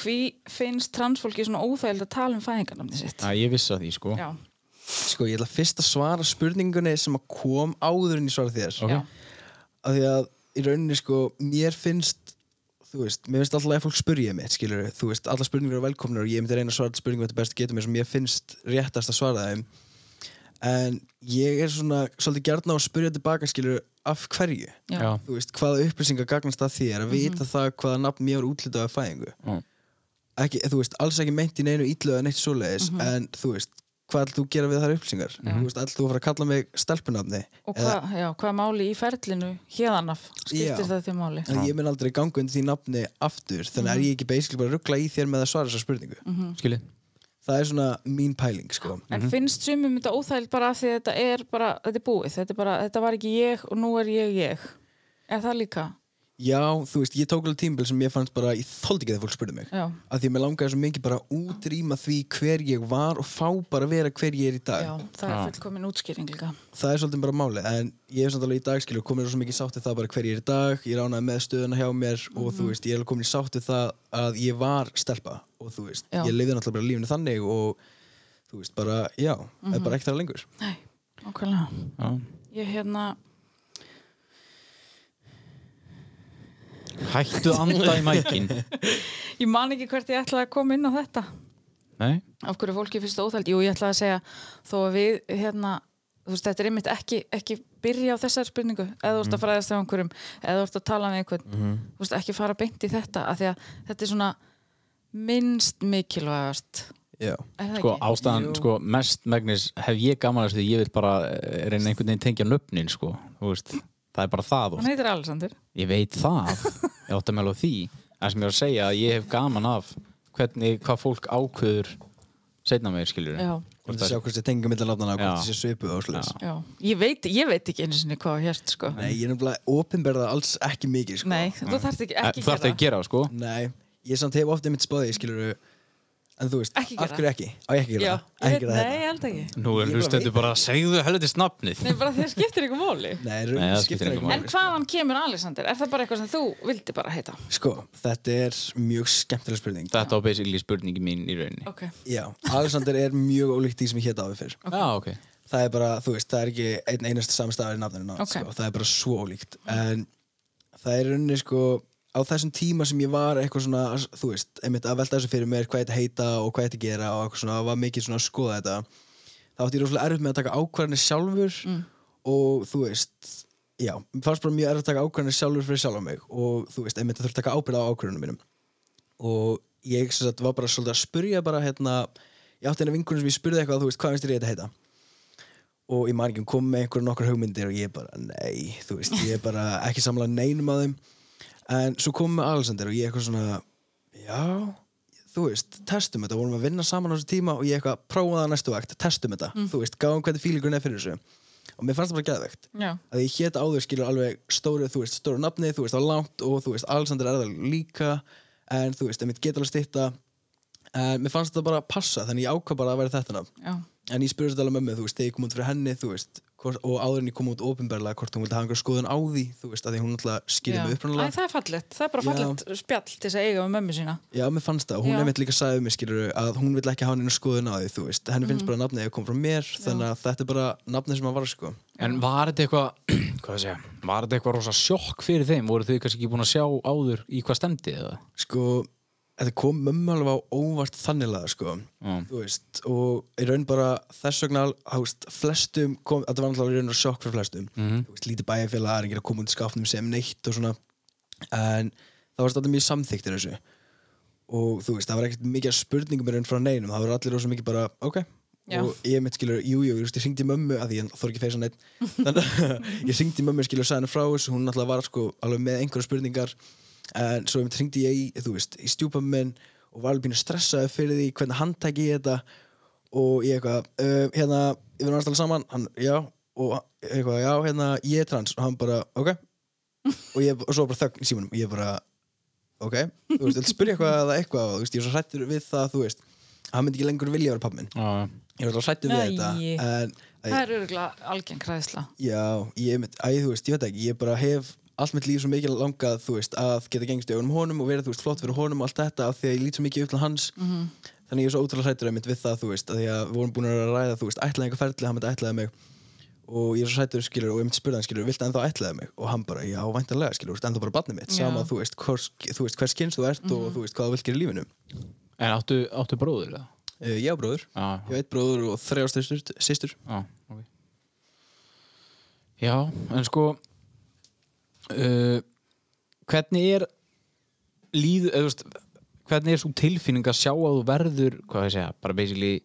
C: Hví finnst transfólki svona óþægild að tala um fæðingarnamni sitt?
A: Það ég vissi að því sko
C: Já,
D: Sko, ég ætla fyrst að svara spurningunni sem að kom áður en ég svara þér.
A: Ok.
C: já,
D: Af því að í rauninni, sko, mér finnst, þú veist, mér finnst alltaf að fólk spurja mitt, skilur þú veist, alla spurningar eru velkomnar og ég myndi reyna að svara spurningum þetta best getur mér sem mér finnst réttast að svara þeim. En ég er svona, svolítið gert á að spurja tilbaka, skilur af hverju?
C: já,
A: Já.
D: þú veist, hvaða upplýsingar gagnast að þér að vita það hvaða nafn mér var útlitað af fæðingu
A: Mm.
D: ekki, þú veist, alls ekki meint í neinu ítlu eða neitt svoleiðis, en þú veist hvað ætlum þú að gera við þar upplýsingar þú veist, ætlum þú að fara að kalla mig stelpunafni
C: Og hvað, já, hvað máli í ferlinu hérðanaf skiptir
D: Já.
C: það til máli?
D: en ég mun aldrei ganga undir því nafni aftur þannig
C: Mhm.
D: er ég ekki basically bara að ruggla í þér með að svara þessa spurningu
C: Mm.
A: Skilið
D: það er svona mín pæling, sko
C: En finnst sumum þetta óþægild bara af því að þetta er bara, þetta er búið, þetta, er bara, þetta var ekki ég og nú er ég ég. Er það líka?
D: já, þú veist, ég tók alveg tímbil sem ég fannst bara, ég þóldi ekki þegar fólk spurði mig
C: Já,
D: að því að mér langaði svo mikið bara að útrýma því hver ég var og fá bara að vera hver ég er í dag
C: já, það er fullkomin útskýring líka.
D: það er svolítið bara málið en ég er samt alveg í dag skilur komin svo mikið sátt við það bara hver ég er í dag ég ránaði með stöðuna hjá mér og
C: Mhm.
D: þú veist ég er alveg komin í sátt við það að ég var stelpa og þú veist
C: Já.
D: ég lifði náttúrulega bara lífinu þannig og þú veist bara já það
C: Mhm.
D: er bara ekkert það lengur
C: Nei, okkarlega.
A: Já.
C: Ég hérna,
A: Hættu að anda í mækin
C: ég man ekki hvert ég ætlaði að koma inn á þetta.
A: Nei
C: Af hverju fólki finnst það óþægild? Jú, ég ætlaði að segja þó að við, hérna, þú veist, þetta er einmitt ekki, ekki byrja á þessari spurningu eða þú ert
A: Mhm.
C: að fræðast af einhverjum, eða þú ert að tala með einhvern, þú veist, ekki fara beint í þetta af því að þetta er svona minnst mikilvægast.
D: já
C: Er það
A: Sko
C: ekki?
A: ástæðan, sko, mest megnis hef ég gaman að þessu því ég vil bara eh, reyna einhvern veginn tengja nöfnin, sko Þú veist, það er bara það
C: Hann
A: og
C: heitir Alexander.
A: ég veit það ég átt að melga því það sem ég var að segja að ég hef gaman af hvernig, hvað fólk ákveður seinna meir skilur
C: Já.
D: og það sjá hvort þið tengja millir lafnana hvort
A: Já.
D: þið sé svipuð og slags
C: Já. Ég veit, ég veit ekki einu sinni hvað hérst, sko.
D: nei ég er nefnilega opinberða alls ekki mikið sko
C: Nei, þú þarft ekki, ekki
A: þarf það Eh, að gera, sko
D: nei ég samt hef oft einmitt spáðið skilur en þú veist
C: Ekki
D: af
C: gera.
D: hverju ekki á ég ekki
C: Já,
D: að gera það?
C: ég
D: Ekki
C: veit,
D: gera
C: nei,
D: þetta?
C: ég held ekki.
A: Nú er
D: Ég bara
A: hlustendur bara að segðu helvitist nafnið
C: Nei, bara þér skiptir ykkur móli.
D: Nei,
A: Nei,
D: það skiptir ekki
C: En
D: máli
C: hvaðan kemur Alexander? Er það bara eitthvað sem þú vildi bara heita?
D: Sko, þetta er mjög skemmtileg spurning
A: Þetta var basically spurningi mín í rauninni
C: Ok.
D: Já, Alexander er mjög ólíkt því sem ég hétt áður fyrr
A: Já, ok
D: Það er bara, þú veist, það er ekki einn einast samstafir í nafninu nátt,
C: Ok.
D: sko. Það er bara svo ólíkt En það er í rauninni, sko Á þessum tíma sem ég var eitthvað svona Þú veist, einmitt að velta þessu fyrir mér Hvað þetta heita og hvað þetta gera Og eitthvað svona, var mikið svona að skoða þetta Það átti ég rosalega erfitt með að taka ákvarðanir sjálfur Og þú veist Já, mér fannst bara mjög erfitt að taka ákvarðanir sjálfur fyrir sjálf mig Og þú veist, einmitt að þurfa að taka ábyrða á ákvarðanum mínum og ég sem sagt, var bara svolítið að spurja bara hérna, ég átti henni vinkunum sem ég spurði eitthvað, þú veist, hvað finnst þér ég þetta heita? Og ég man ekki, hún kom með einhverjum nokkur hugmyndir og ég bara, nei, þú veist, ég er bara ekki samlega neinum að þeim. En svo kom með Alexander og ég eitthvað svona, já, þú veist, testum þetta, vorum að vinna saman á þessu tíma og ég eitthvað, prófa það næstu vakt, testum þetta, þú veist, gáum hvernig fílingurinn er fyrir þessu. Og mér fannst það bara geðvegt
C: Já.
D: að ég hétt áður skilur alveg stóru, þú veist, stóru nafni, þú veist, á langt og þú veist, Alexander er það líka en þú veist, einmitt geta alveg stýtta en mér fannst þetta bara að passa þannig ég ákvað bara að vera þetta nafn
C: Já.
D: en ég spurði þetta alveg með mig, þú veist, þegar ég kom út fyrir henni þú veist, hvort, og áður en ég kom út ópenbarlega hvort hún vildi hafa einhver skoðun á því, þú veist, að því hún alltaf skýrði
C: Já.
D: mig
C: Æ,
D: upprannulega
C: það er fallegt. Það er bara
D: Já.
C: fallegt spjall til þess að eiga með mömmu sína.
D: Já, mér fannst það, og hún
C: Já.
D: einmitt líka sagði við mig skilur að hún vil ekki hafa neina skoðun á því, þú veist henni
C: Mm.
D: finnst bara nafnið að kom frá mér, þannig að þetta er bara nafnið sem að var sko.
A: En var þetta eitthvað, hvað að segja Var þetta eitthvað rosa sjokk fyrir þeim? Voru þau kannski ekki búin að sjá áður í hvað stemdi eða?
D: sko, þetta kom mömmu alveg á óvart þanniglega, sko
A: Já.
D: þú veist, og í raun bara þess vegna, þú veist, flestum kom, þetta var náttúrulega í raun og sjokk
A: Mhm.
D: fyrir flestum þú veist, lítið bæjarfélag, það er enginn að koma út í skápnum sem neitt og svona en það var alltaf mjög samþyktir þessu og þú veist, það var ekkert mikið spurningum er enn frá neinum, það var allir rosa mikið bara ok,
C: Já.
D: og ég mitt skilur, jú, jú, þú veist, ég syngdi mömmu að því ég þór ekki feysa neitt þannig að ég syngdi mömmu skilur sæðan frá þessu, hún náttúrulega var sko alveg með einhverja spurningar en svo einmitt syngdi ég í, þú veist, í stjúpa minn og var alveg pínu stressaði fyrir því hvernig hann tæki ég þetta og ég eitthvað, uh, hérna, við erum aðstæða saman hann, já, og hann- eitthvað, já, hérna ég er trans og hann bara, ok og, ég, og svo bara þögn í símanum og ég bara, ok, þú veist, vil spyrja eitthvað eða eitthvað, og þú veist, ég er svo hrættur við það, þú veist, að hann myndi ekki lengur vilja vera pappminn
A: Já,
D: Ég var alltaf hrættur við
C: Æi.
D: þetta en, æ,
C: Það er örgulega algeng hræðsla.
D: Já, ég, mynd, æ, þú veist, ég veit ekki Ég bara hef allt mitt líf svo mikið langað þú veist, að geta gengst í augunum honum og vera þú veist, flott fyrir honum og allt þetta af því að ég lít svo mikið upp til hans
C: Mhm.
D: þannig ég er svo ótrúlega hrættur einmitt við það þú veist, af því að við vorum búin að ræða þú veist, ætlaði einhver ferli, hann myndi ætlaði mig og ég er svo hrættur skilur og ég myndi spurði hann skilur, viltu ennþá ætlaði mig og hann bara, já, væntanlega skilur, þú veist, ennþá bara barnið mitt
C: Já. Mhm.
D: sama, þú veist, hvers, þú veist, hvers kynns þú ert og þú veist, hvað þú vilt gera í lífinu
A: en áttu, áttu bróður það?
D: uh, Já, bróður,
A: Já,
D: ég veit bróður og þrjástur systur
A: Já, ok Já, en sko uh, hvernig er líð, eða, þú veist, hvernig er svo tilfinning að sjá að þú verður hvað ég segja, bara basically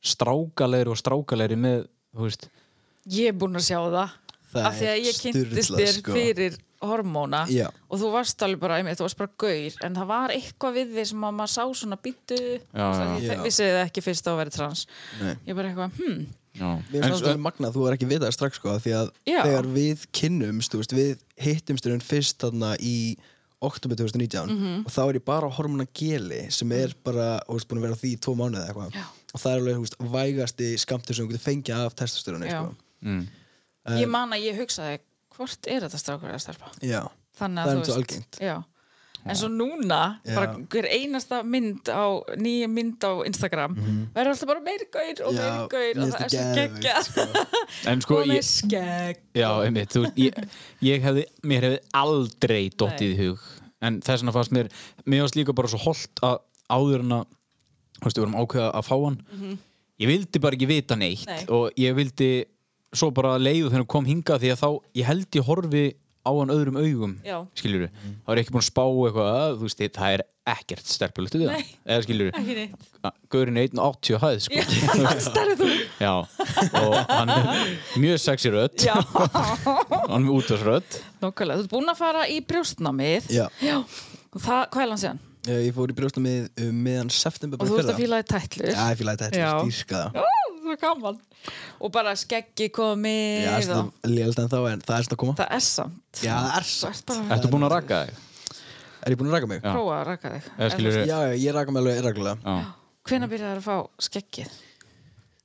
A: strákalegri og strákalegri með þú veist,
C: Ég er búin að sjá það.
D: Það
C: af því að
D: er
C: ég kynntist
D: sturlað,
C: þér
D: sko.
C: fyrir hormóna
D: Já.
C: og þú varst alveg bara, einmitt, þú varst bara gaur en það var eitthvað við því sem að maður sá svona býtu,
A: já.
D: Já.
C: ég vissi það ekki fyrst á að vera trans
D: Nei.
C: ég bara eitthvað, hm,
A: já,
D: Mér
A: en,
D: finnst það magna að þú er ekki vitað strax sko, af því að
C: Já.
D: þegar við kynnumst, þú veist, við hittumst raun fyrst þarna í oktober 2019
C: Mhm.
D: og þá er ég bara á hormona geli sem er bara, þú veist, búin að vera á því í tvo mánuði eða eitthvað og það er alveg, þú veist, vægasti skamptur sem þú getur fengið af testosteroni
C: Já.
D: sko.
A: mm,
C: ég man að ég hugsaði hvort er þetta strákur eða stelpa
D: Já,
C: þannig
D: Það er
C: að
D: svo
C: þú
D: algengt.
C: veist já. en svo núna,
D: Já.
C: bara hver einasta mynd á, nýja mynd á Instagram verður alltaf bara meiri gaur og meiri gaur og
D: Mhm. mér
C: það er
D: finnst
C: svo
D: það
C: geggja
D: geðveikt, sko.
A: en sko
C: og með
A: ég,
C: skegg
A: já, einmitt, þú, veist, ég, ég hefði mér hefði aldrei dottið í hug en þess vegna fannst mér mér varst líka bara svo holt að áður en að þú veist, við vorum ákveða að fá hann ég vildi bara ekki vita neitt
C: Mhm. Nei.
A: og ég vildi svo bara leiðu þegar hann kom hingað því að þá, ég held ég horfi á hann öðrum augum,
C: Já.
A: skiljur þá er ég ekki búin að spá eitthvað, að, þú veist, það er ekkert stelpulegt við hann,
C: Nei.
A: eða skiljur
C: ekki neitt,
A: Gaurin er 1.80 hæð sko.
C: Já, starrið þú
A: Já, og hann er mjög sexy rödd
C: já
A: hann er mjög útvarsrödd
C: Nákvæmlega, þú ert búin að fara í brjóstnámið
D: Já.
C: og það, hvað er hann síðan?
D: Eh, Ég fór í brjósta með um, meðan september
C: Og
D: bara
C: þú ert
D: fyrra.
C: að fílaði tætlur
D: Já, ég fílaði þetta,
C: Já.
D: þetta er stýrskaða
C: Ó, Það er gaman Og bara skeggi komið
D: Já, það
C: og...
D: er lélt en þá, en það er svona að koma
C: Það er samt
D: Já, það er
C: Þú
D: svo
C: ert bara að
A: Ertu búin að ragga þig?
D: Er ég búin að raka mig?
A: Já.
C: prófa að raka þig
A: Eða skilur
D: Já, já, ég raka mig alveg reglulega
A: Já,
C: Hvenær byrjaði að fá skeggið?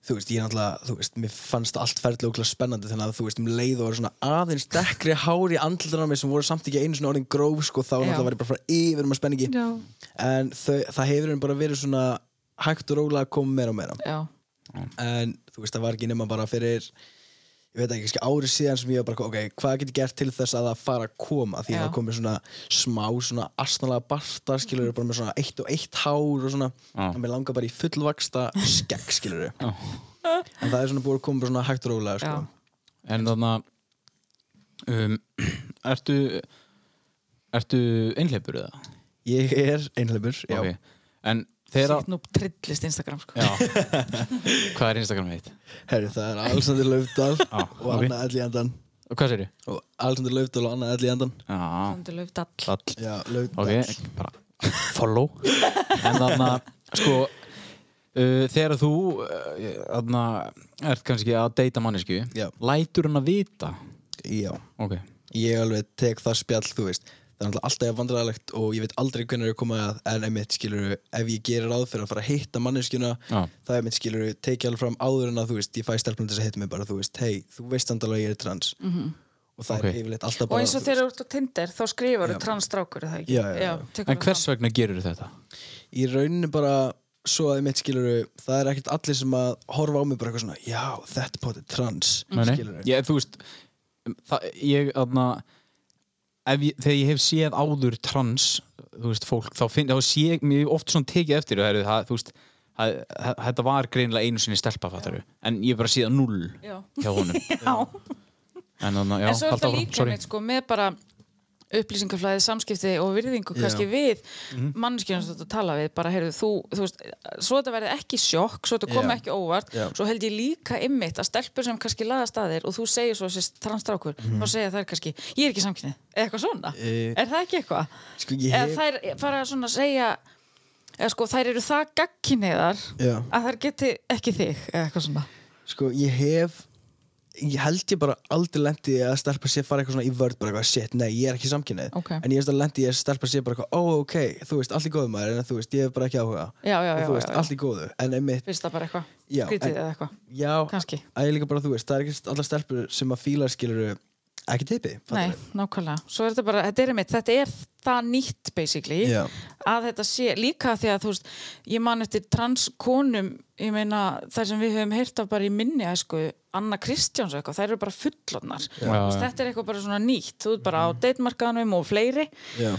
D: þú veist, ég náttúrulega, þú veist, mér fannst allt ferðilega okkur spennandi þannig að þú veist, um leið og var svona aðeins dekkri hár í andlutunum mér sem voru samt ekki einu svona orðin gróf sko, þá
C: Já.
D: náttúrulega var ég bara frá yfir um að spenningi
C: Já.
D: en þau, það hefur henni bara verið svona hægt og rólega að koma meira og meira
C: Já,
D: en þú veist, það var ekki nema bara fyrir ég veit ekki, kannski árið síðan sem ég var bara ok, hvað get ég gert til þess að það fara að koma því
C: Já.
D: það komið svona smá svona astnalega barta, skilur
C: Mm.
D: bara með svona eitt og eitt hár og svona
A: Já.
D: og mér langar bara í fullvaksta skegg, skilur en það er svona búið að koma bara svona hægt og rólega sko.
C: Já.
A: en þannig um, Ertu Ertu einhleipur eða?
D: ég er einhleipur, já
A: Ok. En þeirra
C: Sitt nú trillist Instagram sko.
A: Já Hvað er Instagram heitt?
D: herri, það er Alexander Laufdal og
A: ok.
D: Anna Ellíandan
A: Og Hvað sér ég?
D: og Alexander Laufdal og Anna Ellíandan
A: Já,
C: Þannig löfð all
A: all
D: já, Laufdal
A: Ok, bara follow En þannig að sko Uh, þegar þú uh, aðna, ert kannski að deyta mannesku
D: Já.
A: lætur hann að vita
D: já
A: ok,
D: ég alveg tek það spjall, þú veist það er náttúrulega alltaf vandræðalegt og ég veit aldrei hvernig ég koma að, en einmitt skilur ef ég gerir ráð fyrir að fara að hitta manneskjuna
A: Já.
D: það er einmitt skilur, tekið alveg fram áður en að þú veist, ég fæ stelpunum þess að hitta mig bara, þú veist hei, þú veist andalega ég er trans -hmm. og það
A: Ok.
D: er yfirleitt alltaf
C: Mhm. Og
D: bara
C: eins og
D: þú
C: þegar þú ert á Tinder þá skrifar þú transstrákur er það ekki
D: Já, já, já.
C: tekur
A: en
C: það
A: hvers
C: fram.
A: vegna gerur þetta?
D: veist, í rauninu bara svo að einmitt skilur, það er ekkert allir sem að horfa á mig bara eitthvað svona, já, þetta potið trans,
C: Mhm.
A: Nei, nei.
D: skilur
A: ég, þú veist um, það, ég, aðna, ef ég, þegar ég hef séð áður trans þú veist, fólk, þá, finn, þá sé ég mér oft svona tekið eftir það, er- það, þú veist, það, það, þetta var greinilega einu sinni stelpa fattaru, en ég hef bara séð null
C: Já.
A: hjá honum
C: Já.
A: en, þannig að- já,
C: en svo er
A: haltu
C: þetta
A: áfram,
C: líka sko,
A: sorry.
C: meitt sko með bara upplýsingaflæði, samskipti og virðingu
D: Já. Mhm.
C: kannski við mm. mannskjörnum sem þetta tala við bara heyrðu þú, þú veist, svo þetta verði ekki sjokk svo þetta komi
D: Já.
C: ekki óvart
D: Já.
C: svo held ég líka ymmit að stelpur sem kannski laðast að þér og þú segir svo þessi transstrákur þá segja þær kannski, ég er ekki samkynnið eða eitthvað svona,
D: Mhm. Eh,
C: er það ekki eitthvað?
D: Sko, ég
C: eða
D: hef...
C: þær fara svona að segja eða sko þær eru það gagkinniðar
D: Já.
C: að þær geti ekki þig eða eitthvað svona
D: Sko, ég hef ég held ég bara aldrei lent í því að stelpa sér fara eitthvað svona í vörð bara eitthvað shit, nei, ég er ekki samkynnið
C: Ok.
D: en ég hef lent í því að stelpa sér bara eitthvað ó, ok, þú veist, allt í góðu maður en þú veist, ég hef bara ekki áhuga
C: Já, já,
D: og
C: já,
D: þú veist,
C: já, já.
D: allt í góðu en einmitt,
C: finnst það bara eitthvað,
D: Já,
C: skrítið
D: en-
C: eða eitthvað
D: já,
C: kannski.
D: að ég líka bara, þú veist, það er ekki allar stelpur sem að fílar skilur ekki typi
C: Nei,
D: fattarðu?
C: nákvæmlega. Svo er þetta bara, þetta er mitt, þetta er það nýtt basically
D: Já.
C: að þetta sé líka því að þú veist, ég man eftir transkonum, ég meina þær sem við höfum heyrt af bara í minni æsku, Anna Kristjáns og eitthvað, þær eru bara fullornar.
A: Já.
C: Þú veist, Þetta er eitthvað bara svona nýtt, þú ert bara
D: Mhm.
C: á deitmarkaðanum og fleiri
D: já,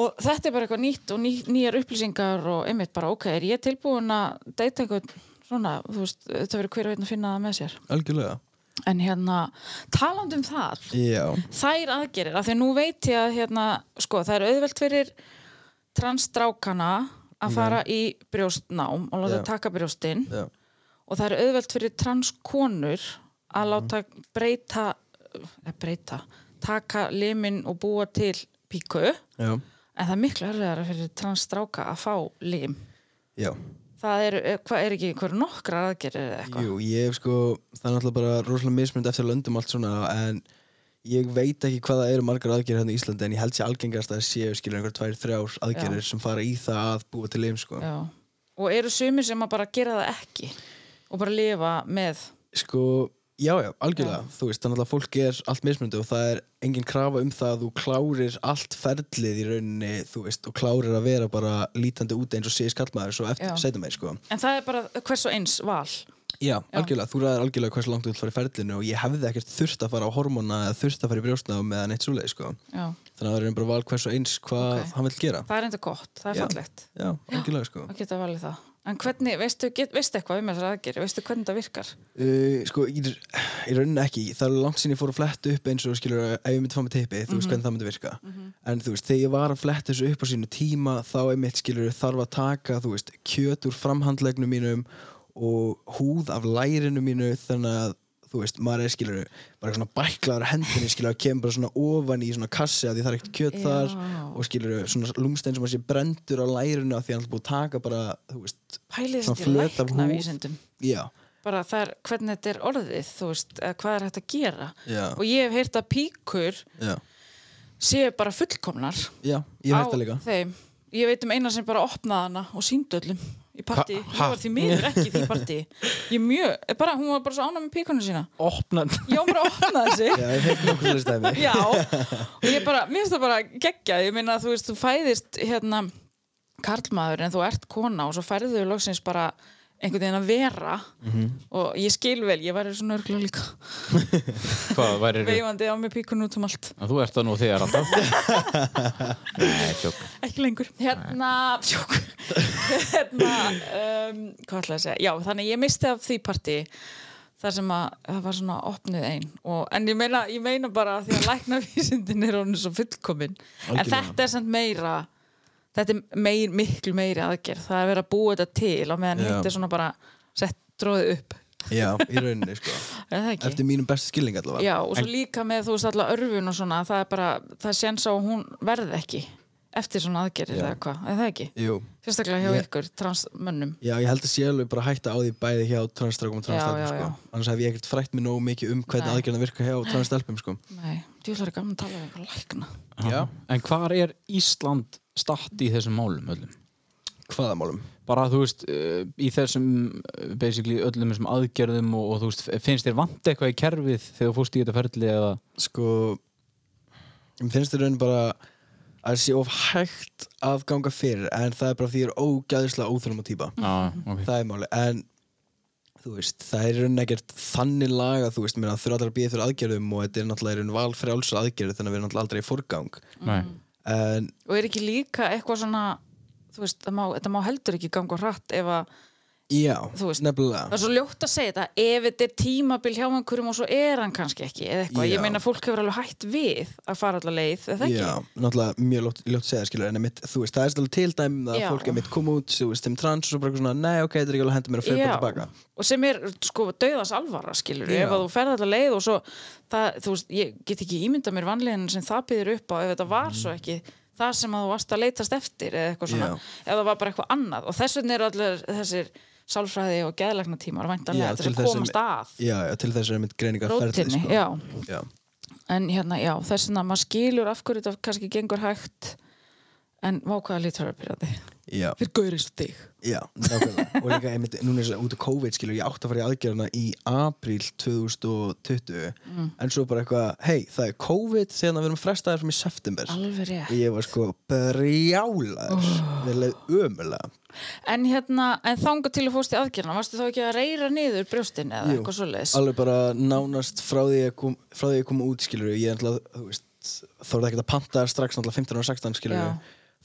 C: og þetta er bara eitthvað nýtt og ný, nýjar upplýsingar og einmitt bara, ok, er ég tilbúin að deita eitthvað svona, þú veist, þetta verður hver og einn að finna það með sér.
D: algjörlega
C: En hérna, talandi um það,
D: já,
C: þær aðgerir, af því að nú veit ég að hérna, sko, það er auðvelt fyrir transstrákana að fara í brjóstnám og láta
D: Já.
C: taka brjóstinn
D: já,
C: og það er auðvelt fyrir transkonur
D: Mhm.
C: að láta breyta eða breyta, taka limin og búa til píku en
D: já,
C: það er miklu erfiðara fyrir transstráka að fá lim
D: já.
C: það er, hvað er ekki, hvað eru nokkra aðgerir eða eitthvað?
D: Jú, ég hef sko, það er náttúrulega bara rosalega mismund eftir löndum allt svona en ég veit ekki hvað það eru margar aðgerðir hérna í Íslandi en ég held sér algengast að það séu skilur einhver tvær, þrjár aðgerðir sem fara í það að búa til leim sko.
C: Já. og eru sumir sem að bara gera það ekki og bara lifa með
D: Sko, já, já, algjörlega þú veist, þannig að fólk er allt mismundi og það er engin krafa um það að þú klárir allt ferlið í rauninni, þú veist og klárir að vera bara lítandi út eins og sé skallmaður svo eftir
C: Já.
D: sætum meir sko.
C: En það er bara hvers og eins val.
D: Já, algjörlega, þú ræðir algjörlega hversu langt þú vilt fara í ferlinu og ég hefði ekkert þurft að fara á hormona eða þurft að fara í brjóstnám eða neitt svoleið sko.
C: Já.
D: þannig að það er bara val hvers og eins hvað
C: Ok.
D: hann vil gera
C: Það er enda gott, það er
D: Já.
C: fallegt
D: já, algjörlega sko
C: að geta valið það. En hvernig, veistu, get, veistu eitthvað um þessar aðgerð, veistu hvernig það virkar?
D: uh, sko, ég, ég raunin ekki það er langt sín ég fór að fletta upp eins og skilur ef ég myndi fá með teipi,
C: Mhm.
D: þú veist hvernig það myndi virka en þú veist, þegar ég var að fletta þessu upp á sínu tíma þá einmitt skilur þarf að taka þú veist, kjöt úr framhandlegnum mínum og húð af lærinu mínu þannig að þú veist, maður er skilur bara svona bæklaður á hendinni skilur að kemur bara svona ofan í svona kassi að því það er ekkert kjöt
C: Já.
D: þar og skilur svona lúmstein sem að sé brendur á lærinu að því að hann er búið að taka bara, þú veist,
C: Pælið þetta
D: Svona
C: í
D: flöt af
C: lækna
D: húð.
C: vísindum.
D: já,
C: Bara það er, hvernig þetta er orðið, þú veist, eða hvað er hægt að gera.
D: Já.
C: Og ég hef heyrt að píkur
D: já
C: séu bara fullkomnar
D: Já, ég hef
C: á
D: heyrt það líka
C: þeim. Ég veit um eina sem bara opnaði hana og síndi öllum í partí. Ég
A: ha?
C: var því miður ekki í því partí. Ég mjög, bara, hún var bara svo ánæg með píkunum sína.
A: opna
C: Já, hún bara opnaði sig.
D: Já, ég hef heyrt nokkuð svolítið stæmi
C: Já, og ég bara, mér finnst það bara geggja, ég meina þú veist, þú fæðist hérna karlmaður en þú ert kona og svo færðu þau loksins bara einhvern veginn að vera og ég skil vel, ég væri svona örgulega líka
A: hvað væri
C: veifandi á mig píkun út um allt,
A: þú ert það nú þegar alltaf nei, tjók
C: ekki lengur hérna, sjók hérna, um, hvað ætlaði að segja já, þannig ég misti af því partí þar sem að það var svona opnið ein og, en ég meina, ég meina bara að því að læknavísindin er honum svo fullkomin en
D: Algjörlega.
C: þetta er samt meira þetta er meir, miklu meiri aðgerð það er verið að búa þetta til og meðan
D: Já.
C: hitt er svona bara sett dróðið upp
D: Já, í rauninni, sko
C: er það ekki?
D: Eftir mínum bestu skilning allavega
C: Já, og svo líka með þú veist alltaf örfun og svona það er bara, það séns á að hún verð ekki eftir svona aðgerðir eða hvað, er það ekki?
D: Jú
C: Sérstaklega hjá
D: Ég-
C: ykkur, transmönnum
D: Já, ég held að sé alveg bara að hætta á því bæði hjá transstrákum og
C: Já, já,
D: transstælpum, sko
C: já.
D: Annars hef ég ekkert frætt mér nógu mikið um hvernig
C: Nei.
D: aðgerðna virka hjá transstælpum, sko
C: Nei, djúlar er gaman að tala um einhver lækna
D: Já.
A: en hvar er Ísland statt í þessum málum öllum?
D: Hvaða málum?
A: bara þú veist eh, í þessum eh, basically öllum þessum aðgerðum og, og þú veist finnst þér vant eitthvað í kerfið þegar þú fórst í þetta ferli eða
D: Sko Mér finnst þér raunin bara að það sé of hægt að ganga fyrir en það er bara því ég er ógæðislega óþrjóma típa
A: Já, ok.
D: það er máli en þú veist, það er í rauninni ekkert þannig laga, þú veist, meðan þurfa allir að býða fyrir aðgerðum og þetta er náttúrulega í raun valfrjálsa aðgerð þannig að við erum náttúrulega aldrei í forgang
C: Mm.
A: Nei.
D: en
C: og er ekki líka eitthvað svona þú veist, það má, þetta má heldur ekki ganga hratt ef að
D: Já,
C: Þú veist. það
D: nefnilega
C: er svo ljótt að segja þetta ef þetta er tímabil hjá einhverjum og svo er hann kannski ekki eða eitthvað,
D: Já.
C: ég meina fólk hefur alveg hætt við að fara allar leið, eða ekki
D: Já, náttúrulega mjög ljótt, ljótt að segja skilur en mitt, þú veist, það er svolítið til dæmi að
C: Já.
D: fólk er mitt kom út, þú veist, þeim trans og svo bara eitthvað svona, nei, ok, þetta er ekki alveg að henda mér að fyrir bara tilbaka
C: og sem er sko döðans alvara skilur,
D: Já.
C: ef að þú ferð allar leið og svo það, þú veist, ég get ekki ímynda mér vanlegin sem það býðir upp á ef þetta var svo ekki það sem að þú varst að leitast eftir eða eitthvað svona,
D: Já.
C: ef það var bara eitthvað annað og þess vegna eru allir þessir sálfræði og geðlækna tímar
D: Já,
C: væntanlega, til þess
D: til
C: að
D: þess að-
C: komast að
D: Já, já, til þess er mitt greiningar
C: rótinni,
D: sko.
C: já
D: já.
C: en hérna, já, þess vegna maður skilur af hverju þetta kannski gengur hægt en má hvaða lítur að byrja þig
D: Já,
C: fyrir gaurist þig
D: já, nákvæmlega og líka einmitt, núna er þess að út af COVID skilur ég átt að fara í aðgerðana í apríl 2020 en svo bara eitthvað, hei, það er COVID þegar við erum frestaðir fram í september
C: alveg
D: og
C: rétt
D: ég var sko brjálaður við leið ömulega
C: en hérna, en þanga til að fórst í aðgerna varstu þá ekki að reyra niður brjóstin eða
D: Jú,
C: eitthvað svoleiðis
D: alveg bara nánast frá því að kom, frá því að koma út skilur ég er alltaf, þú veist þorði ekkert að panta strax náttúrulega 15 og 16 skilur
C: Já.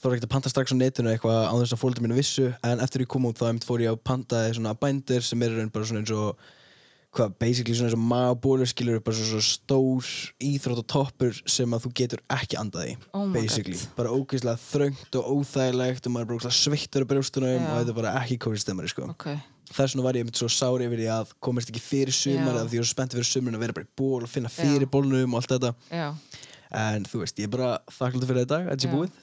D: þorði ekkert að panta strax á netinu eitthvað á þess að fólkdur mínu vissu en eftir ég kom út þá einmitt fór ég að panta svona bændir sem eru bara svona eins og hvað, basically svona eins og magabólu skilur bara svona, svona stór íþrótt og toppur sem að þú getur ekki andað í
C: Oh my
D: basically,
C: God.
D: bara ógeðslega þröngt og óþægilegt og maður er bara ógeðslega sveittur á brjóstunum
C: Já.
D: og þetta er bara ekki kófið stemmari sko
C: ok,
D: þess vegna var ég einmitt svo sár yfir því að komast ekki fyrir sumar
C: Já.
D: eða því ég var svo spennt fyrir sumar að vera bara í ból og finna fyrir bólnum og allt þetta
C: já
D: en þú veist, ég er bara þakkláttur fyrir þetta dag, þetta
C: Já.
D: er búið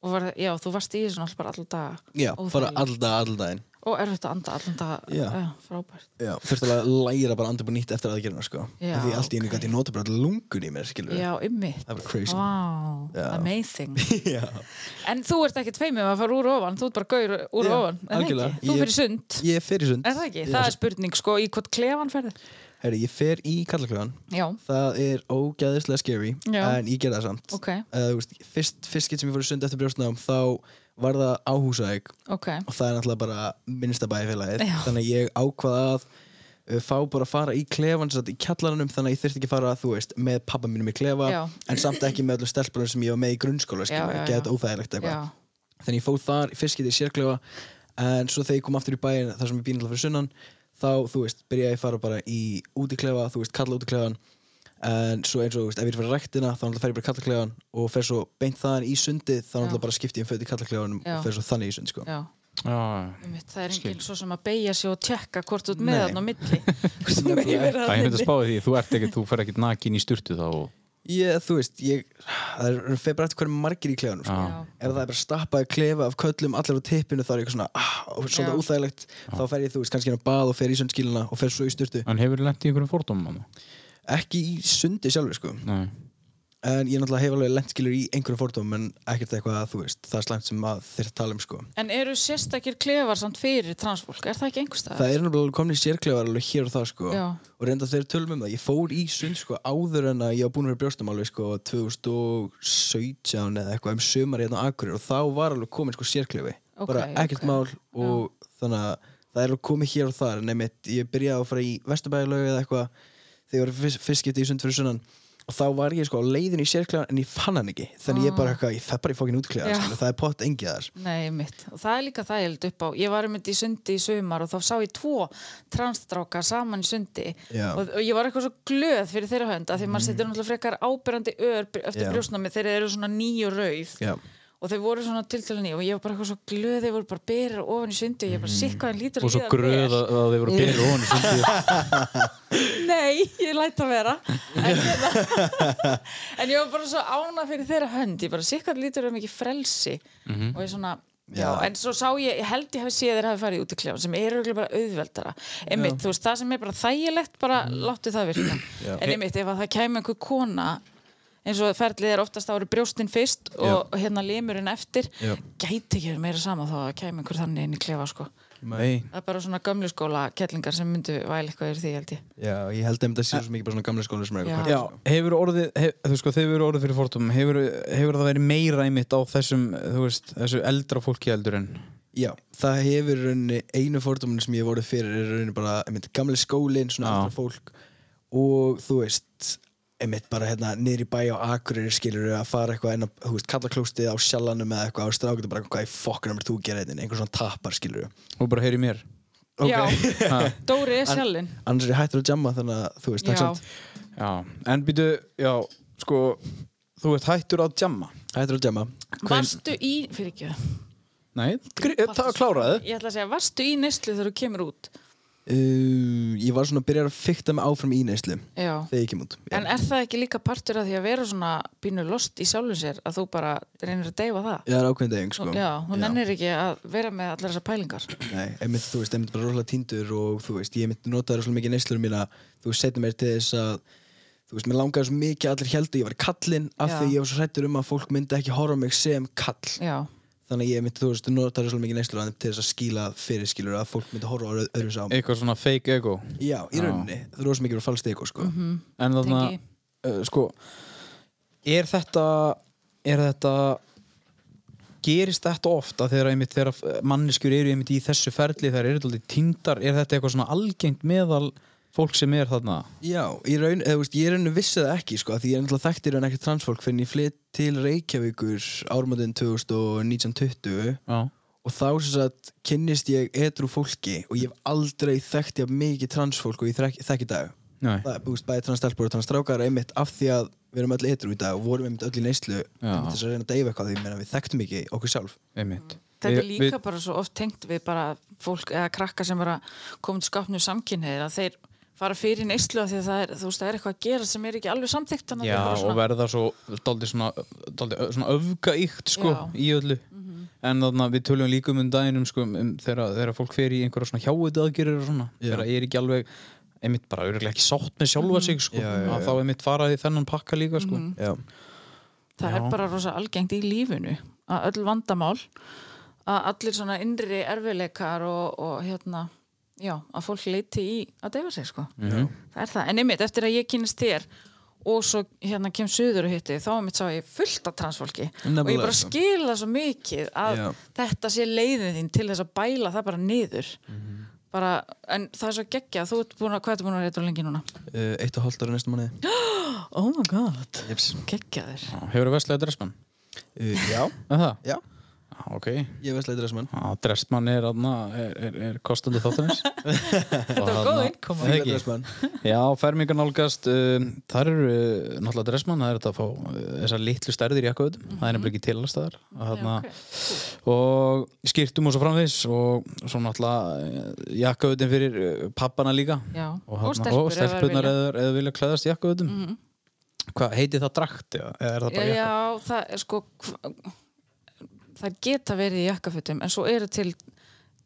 C: og var, já, þú varst í þessu náttúrulega bara allan dag
D: Já, fara
C: Óþægilegt.
D: alltaf, alltaf daginn
C: og erfitt að anda allan dag
D: Já.
C: já, frábært
D: Já, þurfti alveg að læra bara andur búið nýtt eftir aðgerðina sko
C: Já,
D: Af því allt í einu
C: ok.
D: gæti ég nota bara lungun í mér, skilur
C: já, ymmið
D: Það er bara crazy
C: Wow,
D: Já.
C: amazing
D: Já,
C: En þú ert ekkert feimið að fara úr ofan Þú ert bara gaur úr
D: Já,
C: ofan er það ekki?
D: algjörlega.
C: Þú
D: Ég-
C: fyrir sund
D: ég er fyrir sund
C: Er það ekki? Það er spurning sko í hvort klefan ferði.
D: Herri, ég fer í kallaklögan
C: Já,
D: Það er ógæðislega scary
C: Já.
D: en ég ger það samt
C: ok,
D: uh, þú veist, Fyrst, fyrst skitt sem ég fór í sund eftir brjóstnám þá var það áhúsæk
C: ok.
D: og það er náttúrulega bara minnstabæðifélagið
C: Já.
D: þannig að ég ákvaða að uh, fá bara að fara í klefan satt í kjallaranum þannig að ég þurfti ekki að fara, þú veist, með pappa mínum í klefa
C: Já.
D: en samt ekki með öllum stelpunum sem ég var með í grunnskóla skilur,
C: já,
D: já,
C: já.
D: geta óþægilegt
C: Já,
D: eitthvað þannig ég fóð þar, fyrst getið sérklefa en svo þegar ég kom aftur í bæin þar sem ég býnir alltaf fyrir sunnan þá, þú veist, byrjaði ég að fara bara í útiklefa þú veist, kalla útiklefan en svo eins og, þú veist, ef ég er fyrir rektina þá náttúrulega fer ég bara í kallaklefan og fer svo beint þaðan í sundið þá náttúrulega bara skipti ég um föt í kallaklefanum
C: Já.
D: og fer svo þannig í sund, sko
C: já.
A: Já,
C: Einmitt, það er
A: Skil.
C: enginn svo sem að beigja sig og tjekka hvort þú ert með
D: Nei.
C: þarna á milli. Hvort þú
D: Nefnilega.
C: megir vera
A: það er
C: þarna
A: mynd að
C: inni.
A: spáði því þú ert ekkert, þú fer ekkert nakin í sturtu þá og
D: Ég, þú veist, ég, það er fer bara eftir hverjum margir í klefanum sko.
A: Já.
D: Ef það er bara stappaði klefa af köllum allar á tippinu þá er ég eitthvað svona, ah, og
C: Já.
D: svolítið úþægilegt Þá fer ég, þú veist, kannski inn á bað og fer í sundskíluna og fer svo í styrtu
A: En hefur lent í einhverjum fordómum hann?
D: Ekki í sundi sjálfur, sko
A: Nei
D: En ég náttúrulega hef alveg lent skilur í einhverjum fordóm En ekkert eitthvað að, þú veist, það er slæmt sem að þeir tala um, sko
C: En eru sérstakir klefar samt fyrir transfólk? Er það ekki einhvers staðar?
D: Það er náttúrulega komni sérklefar alveg hér og það, sko
C: Já.
D: Og reynda þeir tölum um það, ég fór í sund, sko, áður en að ég var búin að vera brjóstum alveg, sko, 2017 eða eitthvað um sumar hérna á Akureyri og þá var alveg komin, sko, sérklefi
C: Ok,
D: bara ekkert
C: ok.
D: mál og þannig að það er alveg komið hér og þar en einmitt ég byrjaði að fara í Vesturbæjarlaug eða eitthvað þegar ég var fyrst, fyrst getið í sund fyrir sunnan og þá var ég sko á leiðin í sérklegan en ég fann hann ekki þannig ég bara eitthvað, ég fæ bara í fokkin útklegan
C: Ah. Já.
D: skilur, það er pott engið þar
C: Nei, mitt. Og það er líka það ég held upp á. Ég var einmitt í sundi í sumar og þá sá ég tvo transstráka saman í sundi
D: Já.
C: og, og ég var eitthvað svo glöð fyrir þeirra hönd af því maður setur náttúrulega frekar ábyrrandi ör eftir
D: Já.
C: brjóstnámi þegar þeir eru svona nýju rauð
D: Já.
C: og þau voru svona tiltölu nýju og ég var bara eitthvað svo glöð þeir voru bara berir ofan í sundi og ég bara sikk hvað hann lítur
A: Mm. Og svo
C: líða
A: gröð
C: vel.
A: að að þið voru berið ofan í sundi
C: Nei, ég læt að vera en, hérna- en ég var bara svo ána fyrir þeirra hönd ég bara sikkar lítur um ekki frelsi og ég svona Já,
D: Já.
C: en svo sá ég, ég held ég hafi séð þeir hafi farið út í klefan sem eru örugglega bara auðveldara einmitt, þú veist, það sem er bara þægilegt bara láttu það virka en einmitt, ef að það kæmi einhver kona eins og ferlið er oftast ári brjóstin fyrst og hérna limurinn eftir
D: Já.
C: gæti ekki verið meira sama þá að kæmi einhver þannig inn í klefa, sko
A: Nei
C: það er bara svona gömlu skóla kellingar sem myndu væli eitthvað yfir því, held ég
D: Já, ég held einmitt að sé svo mikið bara svona gamla skóla sem er
C: Ah. Já.
D: eitthvað
A: Já, hefur orðið, hef, þú sko, þegar hefur orðið fyrir fordómum hefur, hefur það verið meira einmitt á þessum, þú veist, þessu eldra fólki heldur en
D: Já, það hefur í rauninni einu fordóminu sem ég hef voru fyrir er í rauninni bara, einmitt, gamli skólinn, svona
A: Já.
D: aldra fólk og þú veist, einmitt bara hérna niður í bæ á Akureyri skilur að fara eitthvað inn á, þú veist, kallaklóstið á hérna?" sjallanum eða eitthvað á strákinu bara hvað í fokkunum er þú að gera einnig, einhver svona tapar skilur
A: og bara heyri mér
D: ok.
C: Já, Dóri er sjálfinn.
D: Annars er ég hættur að jamma þannig að þú
C: Já,
D: veist, takk samt.
A: Já, en býtu, já, sko, þú ert hættur að jamma.
D: Hættur að jamma.
C: varstu í, fyrir ekki það,
A: Nei, gr- eh, það kláraði.
C: ég ætla að segja, varstu í neyslu þegar þú kemur út?
D: Uh, ég var svona að byrja að fykta mig áfram í neyslu
C: Já.
D: þegar ég kem út. Já.
C: En er það ekki líka partur af því að vera svona bínu lost í sjálfum sér að þú bara reynir að deyfa það?
D: Ég er ákveðin deging, sko.
C: Já, hún ennir ekki að vera með allar þessar pælingar.
D: Nei, einmitt, þú veist, einmitt bara rosalega tindur og þú veist, ég einmitt notaði rosalega mikið neyslurum mína þú veist, setja mér til þess að þú veist, mér langaði svo mikið að allir heldu ég var kallinn af
C: Já.
D: því ég var svo hrættur um að fólk myndi ekki horfa á mig sem kall
C: Já,
D: þannig að ég einmitt, þú veist, notaði rosalega mikið neyslurum til þess að skýla fyrir skilur að fólk myndi horfa á öðru- öðru sá mig.
A: Eitthvað svona fake ego.
D: Já, í rauninni, það er rosalega mikið verið falskt ego, sko
C: Mhm.
A: En þarna,
C: Tengi.
A: uh, sko, er þetta, er þetta, gerist þetta ofta þegar einmitt, þegar manneskjur eru einmitt í þessu ferli, þegar eru þetta tindar, er þetta eitthvað svona algengt meðal fólk sem er þarna?
D: Já, í raun, eða, þú veist, ég í rauninni vissi það ekki, sko, af því ég er náttúrulega þekkti í raun ekki transfólk fyrir en ég flytt til Reykjavíkur ármöndin 2019-20
A: Já.
D: og þá sem sagt kynnist ég edru fólki og ég hef aldrei þekkt ég mikið transfólk og ég þekki, þekki í dag
A: Nei.
D: það er búist bæði transstelpur og transstrákar einmitt af því að við erum öll edru í dag og vorum einmitt öll í neyslu einmitt þess að reyna að deyfa eitthvað því ég meina, við þekktum ekki okkur sjálf
A: Einmitt.
C: Þetta er
A: Við-
C: líka bara svo oft tengt við bara fólk eða krakka sem er að koma til skapnu samkynneið að þeir fara fyrir neyslu af því að það er, þú veist, það er eitthvað að gera sem er ekki alveg samþykkt þannig að
A: Já,
C: það er bara
A: og
C: svona-
A: verða svo daldi svona, daldi, svona öfgaíkt sko,
C: Já. Mhm.
A: í öllu en þannig að við töljum líka um um daginn um, sko, um þegar, þegar fólk fer í einhverja svona hjáuð aðgerir og svona, þegar ég er ekki alveg einmitt bara örgulega ekki sátt með
C: Mhm.
A: sjálfa sig sko, að þá einmitt faraði þennan pakka líka sko.
D: Já.
C: það er bara rosa algengt í lífinu að öll vandamál að allir svona innri erfileikar og, og hérna já, að fólk leiti í að deyfa sig sko. það er það, en einmitt eftir að ég kynist þér og svo hérna kem suður og hitti þá einmitt sá ég fullt af transfólki og ég
D: Nefnilega,
C: bara
D: sko.
C: skila svo mikið að
D: Já.
C: þetta sé leiðin þín til þess að bæla það bara niður bara, en það er svo geggja þú ert búin að, hvað ertu búin að reyta lengi núna?
D: uh, eitt og hálft ára næstum manni
C: Oh my god,
D: Jeps.
C: geggja þér
A: Hefur það verslega dressmann?
D: Uh, já,
A: Er það?
D: já,
A: Já, ok
D: ég veist leitur þessum mann
A: Já, dressmann er, aðna, er, er, er kostandi þáttanins Þetta
C: var góð innkoma.
D: Ég veit dressmann.
A: Já, fermingar nálgast um, þar eru uh, náttúrulega dressmann það er þetta að fá uh, þessar litlu stærðir jakkaðutum það er nefnilega ekki til alls staðar og, þarna,
C: Mhm. Já, ok.
A: og skýrtum og svo framvegis og svo náttúrulega jakkaðutin fyrir uh, pappana líka
C: Já, og
A: þarna-
C: stelpur
A: og
C: ef þær
A: stelpunar
C: vilja. Mhm.
A: eða, eða vilja klæðast jakkaðutum Hvað heiti það drakt? Eða eða er það bara jakka?
C: Já, það er sko hv- það geta verið í jakkafutum en svo eru til,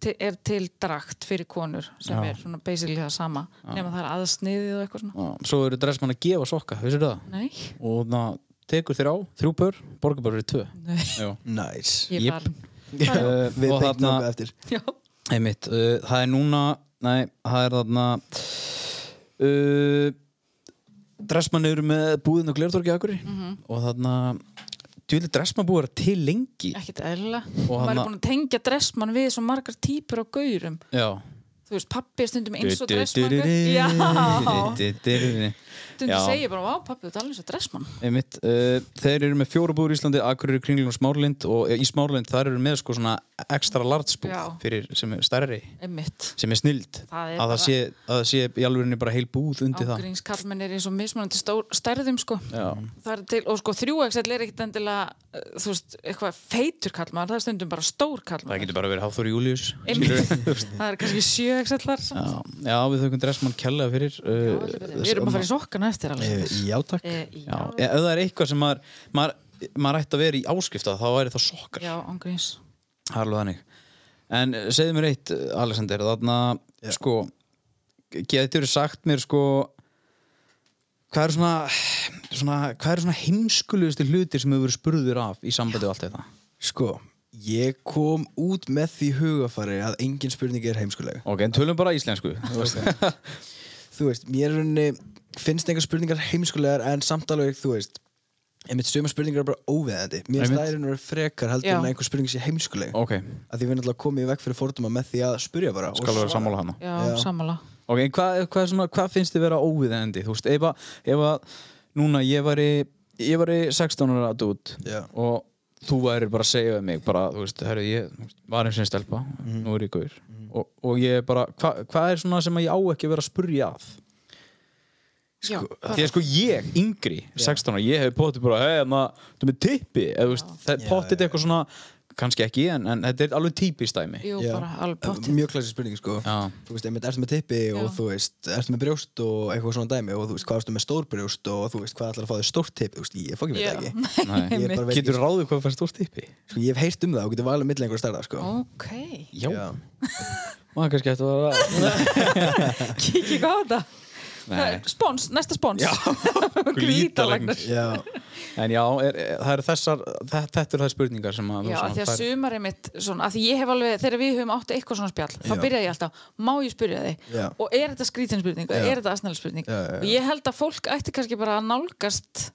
C: til, er til drakt fyrir konur sem
A: Já.
C: er svona basically það sama nema það er aðsniðið og eitthvað svona
A: Já, Svo eru dressmann að gefa sokka, vissir það?
C: Nei,
A: Og það tekur þér á, þrjú bör, borgar bara fyrir tvö
C: Nei.
A: Já.
D: Nice
C: ég
A: Jep.
C: var
A: Uh,
D: Við
A: og
D: beintum
A: þarna-
D: okkur eftir
C: Já,
A: Einmitt, uh, það er núna Nei, það er þarna uh, Dressmann eru með búðin og glertorki akkur og þarna djúli dressmann búið að vera til lengi
C: ekkert eðla
A: Og
C: maður er
A: hana-
C: búin að tengja dressmann við svo margar típur á gaurum
A: Já
C: þú veist, pappi er stundum eins og dressmann Já,
A: Já
C: stundum segir bara, vá pappi, þú ert alveg eins og dressmann
A: Einmitt, uh, þeir eru með fjóra búður í Íslandi Akureyri, Kringlun og Smárlind og í Smárlind þar eru með sko svona extra large
C: Já.
A: búð fyrir sem er stærri
C: einmitt,
A: sem er snild
C: Það er
A: að,
C: bara-
A: það sé, að það sé í alvegurinn bara heil búð undir það
C: ágriðinskarlmenn er eins og mismunandi stór, stærðum sko
A: Já.
C: Það er til, og sko 3XL er ekkert endilega uh, þú veist, eitthvað feitur kallmaður það er stundum bara stór
A: það
C: kallmaður
A: getur bara verið Háþór Július
C: það er kannski 7XL-ar
A: Já, já, við þaukum dressmann kella fyrir uh,
C: við erum að fara í sokkana eftir alveg
D: Eh, Já, takk
C: Eh,
A: Já,
C: já,
A: ef það er eitthvað sem maður, maður, maður ætti að vera í áskipta þá væri það sokkar
C: já, ángriðins
A: Það er alveg þannig En eh, segðu mér eitt, eh, Alexander þarna, sko getur sagt mér, sko hvað eru svona, svona hvað eru svona heimskulugustu hlutir sem hefur verið spurður af í sambandi og allt þetta
D: Sko, ég kom út með því hugafari að engin spurning er heimskuleg
A: Ok, en tölum bara íslensku
D: Þú veist, mér er henni finnst einhver spurningar heimskulegar en samt alveg, þú veist einmitt stöma spurningar er bara óveðandi mér finnst
A: Einmitt.
D: það er henni frekar heldur
C: Já.
D: en að einhver spurning sé heimskuleg
A: Ok,
D: að því við erum alltaf komið í veg fyrir forduma með því að spurja bara og
A: skal vera
D: svara.
A: sammála hana
C: já,
D: Já.
C: sammála
A: Ok, en hvað, hvað, er svona, hvað finnst þið vera óviðendi? Þú veist, ef að, ef að núna ég var í, ég var í 16 ára dút
D: Já.
A: og þú væri bara að segja um mig bara, þú veist, herru, ég þú veist, var eins og stelpa
D: Mhm.
A: nú er ég gaur og, og ég er bara, hva, hvað er svona sem að ég á ekki að vera að spurja að
C: Já, bara-
A: því að sko ég, yngri, 16 ára ég hef potið bara, hei, en það, þú með tippi eða, þú veist, það
D: Já,
A: er potið
D: já,
A: eitthvað svona kannski ekki, en, en þetta er alveg típist dæmi
C: Jú,
D: Já.
C: bara alveg pottið.
D: mjög klassisk spurning sko
A: Já.
D: þú veist, einmitt, ertu með tippi og
C: Já.
D: þú veist ertu með brjóst og eitthvað svona dæmi og þú veist, hvað ertu með stór brjóst og þú veist, hvað ætlar að fá þér stórt tippi þú veist, ég fokkin veit
C: Já.
D: það ekki
A: Nei.
D: Ég bara veit
A: getur ráðið hvað fær stórt tippi
D: Sko, ég hef heyrt um það og getur valið milli einhverja stærða, sko.
C: Ok,
A: já,
D: Já.
A: maður kannski eftir að vera
C: kikið á þetta
A: Nei.
C: Spons, næsta spons
A: Glýtalagnar.
C: Glítalæknar
D: Já,
A: en já, er, er, það eru þessar þe- þetta eru þær spurningar sem að þú
C: Já, af því
A: svona
C: að
A: færð.
C: sumarið mitt svona, af því ég hef alveg, þegar við höfum átt eitthvað svona spjall, þá
D: Já.
C: byrjaði ég alltaf má ég spyrja þig,
D: Já.
C: og er þetta skrítinspurning og
D: Já.
C: er þetta asnælspurning
D: Já, já, já.
C: og ég held að fólk ætti kannski bara að nálgast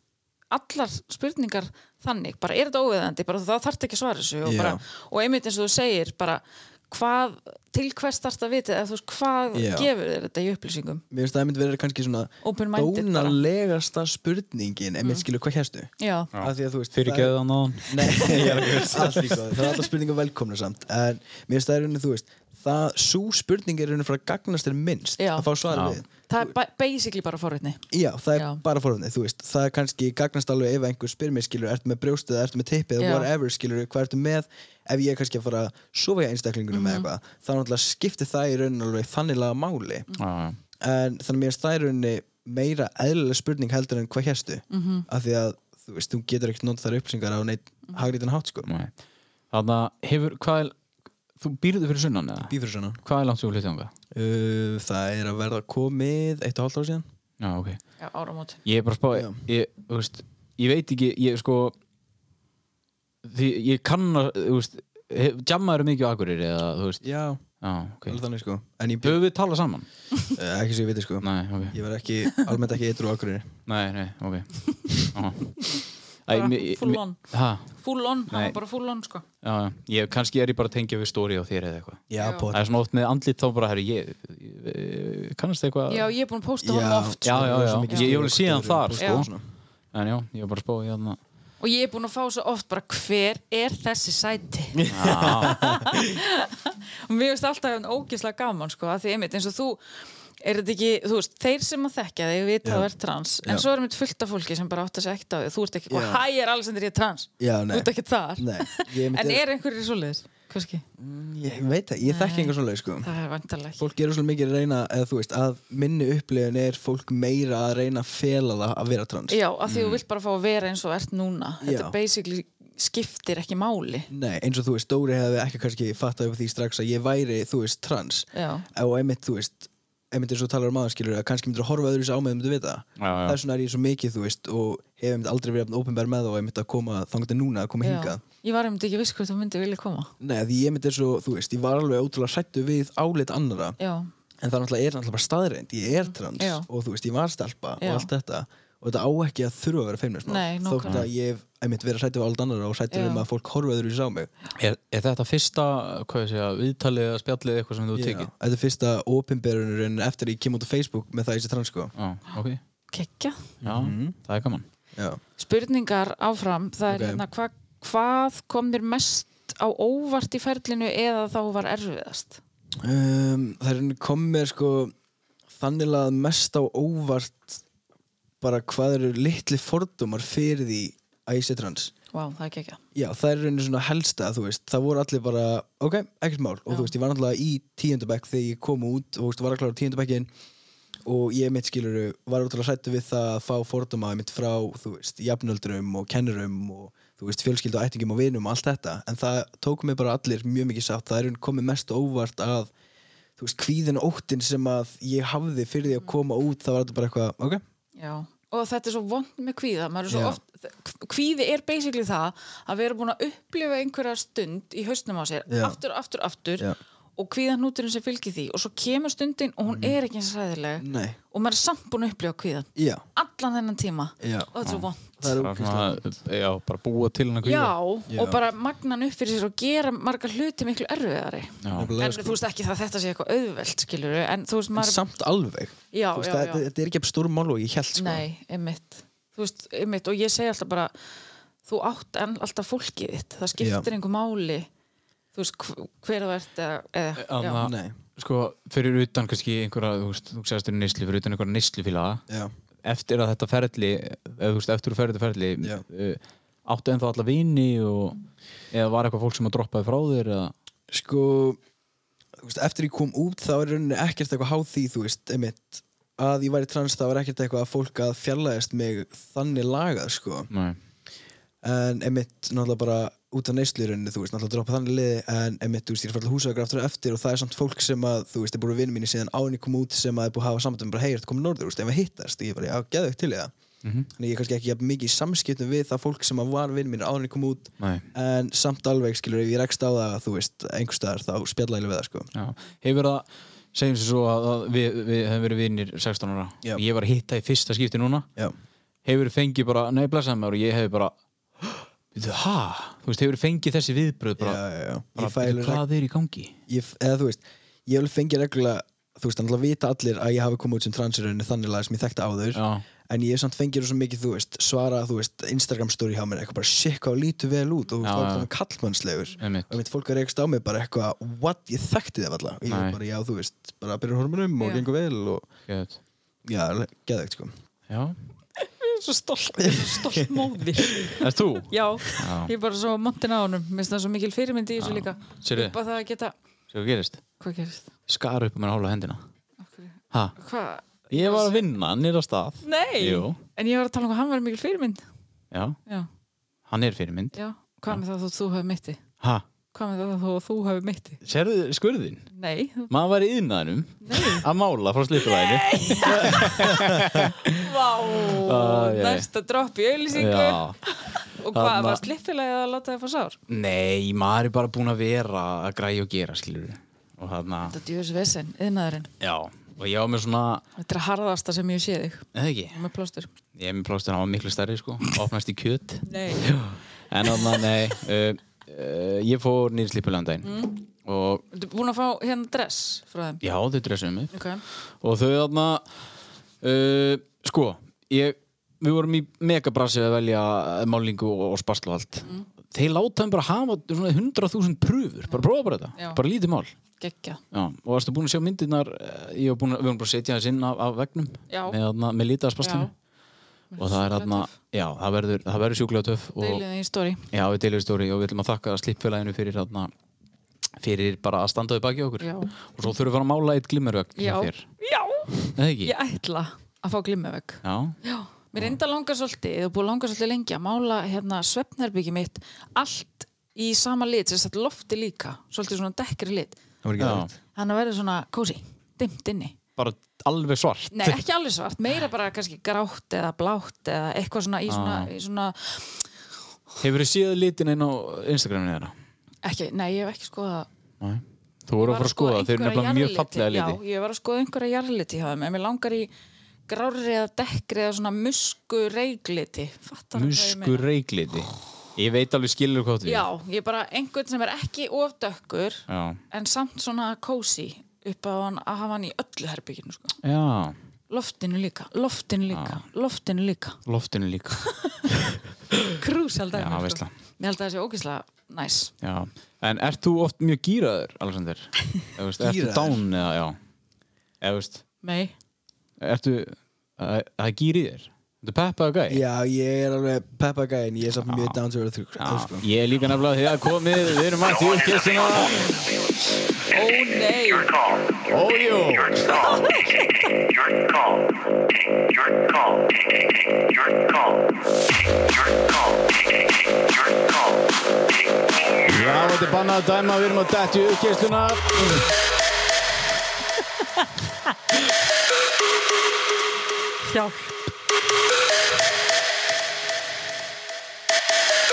C: allar spurningar þannig, bara er þetta óviðandi bara það þarf ekki að svara þessu og,
D: Já.
C: bara, og einmitt eins og þú segir, bara hvað, til hvers þarf að vita eða þú veist, hvað
D: Já.
C: gefur þér þetta í upplýsingum
D: mér finnst það einmitt verið kannski svona
C: Open-minded bara.
D: dónalegasta spurningin, einmitt mm. skilur hvað hérstu.
C: Já,
D: Af því að þú veist,
A: fyrir
D: það-
A: geðan á hann
D: Nei, ég er ekki veist Allt í góð, það er alltaf spurningar velkomna samt En mér finnst það er raunin, þú veist Það, sú spurning er raunin frá að gagnast þér minnst
C: Já.
D: Að fá svar
A: Já.
D: við
C: það er ba- basically bara forvitni
D: Já, það er
C: Já.
D: bara forhundið, þú veist Það er kannski gagnast alveg ef einhver spyr mér skilur Ertu með brjóstið, eða ertu með tippið,
C: Já.
D: eða whatever skilur Hvað ertu með, ef ég er kannski að fara að sofa í einstaklingunum
C: Mhm.
D: mm -hmm. eitthvað Þá náttúrulega skiptir það í raunin alveg þanniglega máli
C: Mhm.
A: Já, já.
D: en þannig mér finnst það í rauninni meira eðlilega spurning heldur en hvað hérstu mm
C: Mhm.
D: -hmm. af því að þú veist, þú getur ekkert notað þær upplýsingar á neitt mm hátt sko
A: Nei. Þannig að hefur, hvað er þú býrðu fyrir sunnan eða?
D: Býfur svona
A: Hvað er langt svo hlutið ánga?
D: uh, Það er að verða komið eitt og hálft ár síðan
A: Já, ok.
C: Já, áramót
A: Ég er bara að
D: Já.
A: spá, ég, þú veist, ég veit ekki, ég sko, því ég kann að, þú veist, hef- jammaður er mikið á Akureyri eða, þú veist,
D: Já,
A: já, ok.
D: alveg þannig sko En ég,
A: Höfum við talað saman?
D: uh, ekki svo ég viti sko
A: Nei, ok.
D: Ég verð ekki, almennt ekki eitrú ákvörðir
A: Nei, nei, ok. Já.
C: Bara
A: mi-
C: full
A: mi-
C: on.
A: Ha,
C: Full on, það
A: Nei.
C: var bara full on sko
A: já, já. Ég, kannski er ég bara að tengja við stóri á þér eða eitthvað.
D: Já,
C: Já.
D: pot
A: Það er svona oft með andlit þá bara, herri, ég, ég, ég kannast eitthvað.
C: Já, ég er búin að posta
D: Já,
C: honum oft
A: já,
C: sko.
A: já, já. Ég- ég vil síðan þar,
C: sko.
A: En já, ég er bara að spá í þarna.
C: Og ég er búin að fá svo oft bara hver er þessi sæti Og mér finnst alltaf hann ógislega gaman sko að því einmitt eins og þú er þetta ekki, þú veist, þeir sem að þekkja þig vita
D: Já.
C: að þú ert trans, en
D: Já.
C: svo er mitt fullt af fólki sem bara átt að segja ekkert á því, þú ert ekki
D: Já.
C: og hæ er alls endur ég er trans,
D: Já,
C: þú
D: nei.
C: ert ekki þar
D: Nei, ég einmitt
C: en
D: er-
C: er einhverjir svoleiðis, kannski
D: Ég veit það, ég þekki einhver svoleið sko
C: það er vantarlega ekki,
D: Fólk gerur svolítið mikið að reyna, eða þú veist, að minni upplifun er fólk meira að reyna að fela það að vera trans
C: já, að því þú vilt bara fá að vera eins og ert núna,
D: Mm. Já.
C: þetta basically skiptir ekki máli
D: Nei, eins og þú veist, Dóri hefði ekki kannski fattað upp á því strax að ég væri, þú veist, trans
C: Já.
D: og einmitt, þú veist, einmitt eins og þú talar um aðanskilur að kannski myndir að horfa öðru sér á með þú myndir vita
A: Já, já.
D: þess vegna er ég svo mikið, þú veist, og hef einmitt aldrei verið ofnbær með það og einmitt að koma þangt að núna að koma
C: já.
D: hingað
C: ég var einmitt ekki viss hvort þú myndi vilja koma
D: Nei, því ég myndi svo, þú veist, ég var alveg ótrúlega sættu við álit annara
C: já,
D: en það náttúrulega er náttúrulega bara staðreind, ég er trans
C: Mm, Já.
D: og þú veist, ég var stelpa
C: Já.
D: og allt þetta og þetta á ekki að þurfa að vera feimnismál
C: Nei,
D: þótt
C: nákvæmlega.
D: að ég hef einmitt verið sættu við álit annara og sættu
C: Já.
D: um að fólk horfa öðru sér á mig
A: Er, er þetta fyrsta, hvað ég segja, viðtalið eða spjallið eitthvað sem þú
D: Já,
A: tekið?
D: Þetta er fyrsta opinberunurinn eftir að ég kem út á Facebook með það í sér trans sko
A: Já, ok.
C: kekja
A: Já, það er gaman.
D: Já,
C: spurningar áfram það
D: Ok.
C: er hérna hva, hvað kom þér mest á óvart í ferlinu eða þá var erfiðast
D: um,
A: Ehm,
D: það er komið sko þannig að mest á óvart bara hvað eru litli fordómar fyrir því að ég sé trans
C: wow, það er ekki ekki
D: Já, það er rauninni svona helsta, þú veist, það voru allir bara, ok, ekkert mál og þú veist, ég var náttúrulega í tíundabæk þegar ég kom út og þú veist, var að klára tíundabækin og ég mitt skiluru, var útrúlega hrættu við það að fá fordóma mitt frá, þú veist, jafnöldrum og kennurum og þú veist, fjölskyldu og ættingum og vinum og allt þetta, en það tók mig bara allir mjög mikið sátt, það er rauninni komið mest á óvart að, þú veist, kvíðin og óttin sem að ég hafði fyrir því að koma út, það var þetta bara eitthvað, ok,
C: Já. og þetta er svo vond með kvíða Maður er svo
D: Já.
C: oft, kvíði er basically það að vera búin að upplifa einhverja stund í hausnum á sér,
D: Já.
C: aftur, aftur, aftur
D: Já.
C: og kvíðanúturinn sem fylgir því og svo kemur stundin og
D: Mm.
C: hún er ekki eins ræðileg
D: Nei.
C: og maður er samt búin að upplifa kvíðan
D: já,
C: allan þennan tíma
D: Já.
C: og þetta er svo vond
D: það er
A: Það er svona, já, bara búa til hann að kvíða.
C: Já,
D: Já.
C: og bara magnan upp fyrir sér og gera margar hluti miklu erfiðari
D: ógeðslega-
C: en þú veist ekki það að þetta sé eitthvað auðvelt skilur en þú veist
D: sko. En
C: maður
D: samt alveg
C: Já,
D: Þú veist,
C: já,
D: það-
C: já.
D: þetta- þetta er ekki stór mál og ég held sko.
C: nei, einmitt. þú veist, einmitt og ég segi alltaf bara þú átt en alltaf fólkið þitt það skiptir einhver máli þú veist hv- hver þú ert eða, eða, já.
A: Anna,
D: Nei,
A: sko, fyrir utan kannski einhverja, þú veist, þú segast þér nýslu fyrir utan einhverja nýslufélaga
D: já,
A: eftir að þetta ferli, eða þú veist, eftir að ferli þetta ferli,
D: Já.
A: uh, áttu ennþá alla vini og, eða var eitthvað fólk sem að droppaði frá þér eða,
D: sko þú veist, eftir ég kom út þá er í rauninni ekkert eitthvað háð því, þú veist, emitt að ég væri trans þá er ekkert eitthvað að fólk að fjarlæðist mig þannig lagað, sko
A: nei,
D: en emitt náttúrulega bara út af neyslurunni, þú veist, náttúrulega droppa þannig liði en emitt, þú veist, ég er farið húsagra aftur og eftir og það er samt fólk sem að, þú veist, er búin að vinna mínu síðan áinni kom út sem að er búin að hafa samtum bara, hei, ertu komin norður, þú veist, ef að hittast ég bara, já, geðu til í það
A: Mhm.
D: þannig ég er kannski ekki jafn mikið í samskiptum við það fólk sem að var vinna mínu áinni kom út
A: nei
D: en samt alveg, skilur, ef ég rekst á það þú veist, einhverstaðar, þá spjalla ég við það, sko
A: Já. Hefur það, segjum sér svo að, að við, við hefum verið vinnir 16 ára
D: Já.
A: Ég var að hitta í fyrsta skipti núna
D: já,
A: Hefur fengið bara, nei blessaði mér og ég hefur bara "Bíddu, Ha? Þú veist, hefur fengið þessi viðbröð bara,
D: já, já, já.
A: bara
D: Ég fæ
A: "Bíddu,
D: alveg
A: Hvað er í gangi?
D: ég, eða þú veist, ég vil fengi reglulega þú veist, þannig að vita allir að ég hafi komið út sem transirunni þannig að sem ég þekkti áður
A: Já.
D: en ég hef samt fengið svo mikið, þú veist, svara þú veist, Instagram story hjá mér, eitthvað bara shit hvað þú lítur vel út og þú
A: Já,
D: veist,
A: já.
D: það er svona kallmannslegur
A: Einmitt.
D: og mitt fólk er reykst á mig bara eitthvað what, ég þekkti þið alltaf og ég
A: Nei.
D: bara, já, þú veist, bara byrjar hormonum um og
C: Já.
D: gengur vel og,
A: Gæt.
D: já, geðvegt, sko
A: Já,
C: ég er svo stolt, ég er svo stolt móðir
A: er þú?
C: já, ég er bara svo montin á honum minnst það svo mikil fyrirmynd í þessu líka
A: Sérðu?
C: bara það að geta,
A: Sér hvað gerist?
C: hvað gerist
A: Skar upp um mér hálfa hendina
C: Af hverju?
A: Ha?
C: hvað,
A: Ég var að vinna, hann er á stað
C: nei
A: Jú.
C: en ég var að tala um hvað hann var mikil fyrirmynd
A: Já,
C: já,
A: hann er fyrirmynd
C: já, hvað með það þótt þú hafi mitti
A: Ha?
C: hvað með það þótt þú hafi mitti
A: Sérðu skurðin?
C: nei,
A: Maður var í yðnaðinum að mála frá slippulæðinu
C: Vá,
A: Ah, já, já.
C: næsta dropp í auðlýsingu
A: Já
C: og hvað,
A: Þarna-
C: var slippilega að láta þið fá sár?
A: Nei, maður er bara búin að vera að græja og gera, skilur við. Og þarna,
C: Þetta er djúvis vesen, yðnaðurinn
A: já, og ég á með svona,
C: Þetta er harðasta sem ég sé þig
A: eða ekki,
C: og með plástur
A: ég er með plástin á miklu stærri, sko, opnast í kjöt.
C: Nei,
A: En þarna, nei, uh, uh, ég fór nýri slípulandaginn mm. og
C: ertu búin að fá hérna dress frá þeim?
A: já, þau dressum mig.
C: Ok,
A: Og þau þarna, uh, sko, ég, við vorum í megabrassi að velja málingu og, og sparslu og allt.
C: Mm.
A: Þeir láta þeim bara hafa svona 100.000 pröfur, bara prófa bara þetta,
C: Já.
A: bara lítið mál.
C: geggja
A: Já, og varstu búin að sjá myndirnar eh, ég var búin að, við vorum bara að setja þess inn af, af vegnum
C: Já.
A: með, aðna, með lítið að spastinu og það er
C: Sjúklega
A: aðna,
C: töff.
A: já, það verður, það verður sjúklega töf og
C: Deilið í story
A: já, við deilum stóri og við viljum að þakka slíppfélaginu fyrir aðna, fyrir bara að standaði baki okkur
C: Já.
A: og svo þurfum við að fara að mála eitt glimmervegg hjá
C: Já,
A: þér,
C: já,
A: eða ekki?
C: ég ætla að fá glimmavegg
A: Já,
C: Já, mér enda langar svolítið og búið að langa svolítið lengi að mála hérna svefnherbyggi mitt allt í sama lit, þess að lofti líka svolítið svona dekkri lit
D: það var ekki
A: já.
D: það
C: þannig að verða svona kósi, dimmt inni
A: bara alveg svart
C: Nei, ekki alveg svart, meira bara kannski grátt eða blátt eða eitthvað svona í svona,
A: Ah.
C: í svona
A: hefur þið séð litin inn á Instagraminu þeirra?
C: ekki, nei, ég hef ekki skoðað
A: Nei, þú voru að fara að skoða, þeir eru nefnilega mjög fallega liti
C: sko Já, ég var að skoða einhverja jarliti hjá þeim en mér langar í grári eða dekkri eða svona musku reikliti Fattar
A: muskur reikliti ég veit alveg skilur hvað þú átt við.
C: Já, ég er bara einhvern sem er ekki ofdökkur
A: Já.
C: en samt svona kósi upp á hann að hafa hann í öllu herbygginu sko.
A: Já,
C: loftinu líka, loftinu
A: Ah.
C: líka, loftinu líka
A: loftinu líka
C: krúsal dæmi
A: Já,
C: sko.
A: veistla.
C: Mér held að það sé ógeðslega næs
A: Já. En ert þú oft mjög gýraður, Alexander? gýraður? Ertu
D: Gíraður?
A: dán eða, já Eða, veist,
C: Nei,
A: ertu að það gýri þér? Ertu peppaðu gæ?
D: já, ég er alveg peppa gæin, ég er samt mjög down to earth sko.
A: Ég er líka nefnilega þegar komið, við erum að tjóðkessina
C: ó nei
G: call.
A: Ójó
G: Your call. Your call. Your call. Your call. Your call. Your call.
A: Já, þetta er bannað að dæma, við erum að dættu uppkessluna
C: Hjálp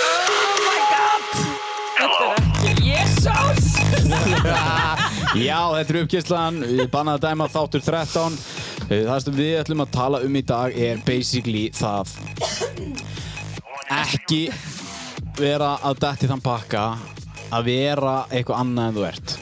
C: Oh my god Þetta er ekki Jesus
A: Já, þetta er uppkesslan, við erum bannað að dæma þáttur 13 Það sem við ætlum að tala um í dag er basically það ekki vera að detti þann pakka að vera eitthvað annað en þú ert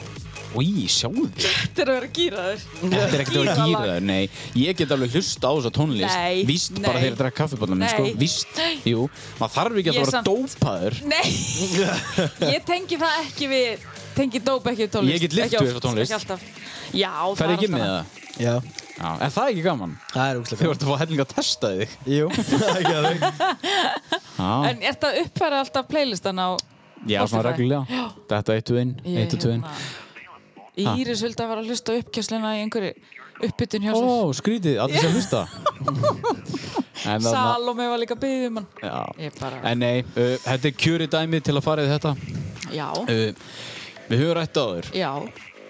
A: Í, sjáðu þið
C: Þetta er að vera gýraður
A: Þetta er ekkert að vera
C: Gíralag.
A: gýraður, nei Ég get alveg hlusta á þessa tónlist
C: Nei,
A: Víst
C: nei.
A: bara þegar að drakka kaffibólla minn, sko
C: Nei.
A: Víst,
C: Nei.
A: jú Maður þarf ekki að
C: Ég
A: vera
C: samt.
A: dópaður
C: Nei, ég tengi það ekki við Tengi dóp ekki við tónlist
A: Ég get lyft
C: Ekki
A: við
C: oft,
A: þessa tónlist.
C: Ekki alltaf Já, það
A: Fer ekki
C: alltaf
A: með
C: það.
A: það
D: Já,
A: Já, en það er ekki gaman
D: það er
A: Þau
D: úrslega
A: vart að fá helling að testa þig
D: Jú, það er ekki að þau
A: Já,
C: En er þetta uppfæra alltaf playlistan á
A: já svona
C: Spotify.
A: reglulega Þetta eittu inn,
C: Ég,
A: eittu inn
C: hérna, Íris vildi að vera að hlusta á uppkjörsluna í einhverju uppbytun hjá sér.
A: Ó, hérna, skrítið, allir sem hlusta En þarna-
C: Salome var líka byggðið um hann.
A: Já.
C: Ég bara,
A: En nei, uh, þetta er kjöri dæmi til að fara í þetta uh,
C: já,
A: Við höfum rætt á þur
C: já,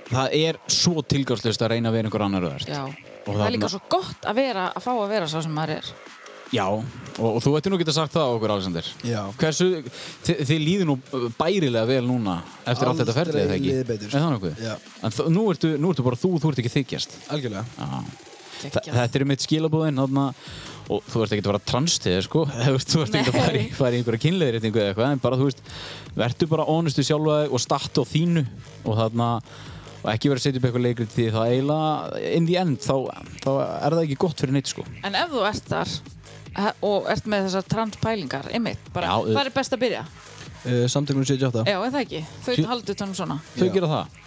A: Það er svo tilgangslust að reyna að vera einhver annar öðvert
C: já.
A: Og
C: það er
A: þarna-
C: líka svo gott að vera, að fá að vera sá sem maður er.
A: Já, og, og þú ætti nú geta sagt það á okkur, Alexander.
D: Já.
A: Hversu, þið, þið líður nú bærilega vel núna eftir allt þetta
D: Aldrei
A: ferlið, eða ekki?
D: liðið betur.
A: Er það nokkuð?
D: Já.
A: En þ- nú ertu, nú ertu bara þú, þú ert ekki þykjast.
D: Algjörlega
A: Já. Þa-
C: Geggjað.
A: Þetta er mitt skilabóðin, þarna, og þú ert ekki að vera transtið, sko. Þú ert, þú ert ekki að
C: Nei.
A: fara í, fara í einhverja kynleðirreitingu eða eitthvað, en bara, þú veist, vertu bara onustu sjálfaði og startu á þínu og þarna, og ekki vera að setja upp eitthvað leikrit því það eiginlega, in the end, þá, þá er það ekki gott fyrir neitt, sko.
C: En ef þú ert þar he- og ert með þessar transpælingar, einmitt, bara,
A: Já,
C: hvað er best að byrja?
D: uh, Samtökunum 78
C: Já, en það ekki, þau
A: Sjö-
C: haldur tónum svona,
A: Þau
D: Já.
A: gera það.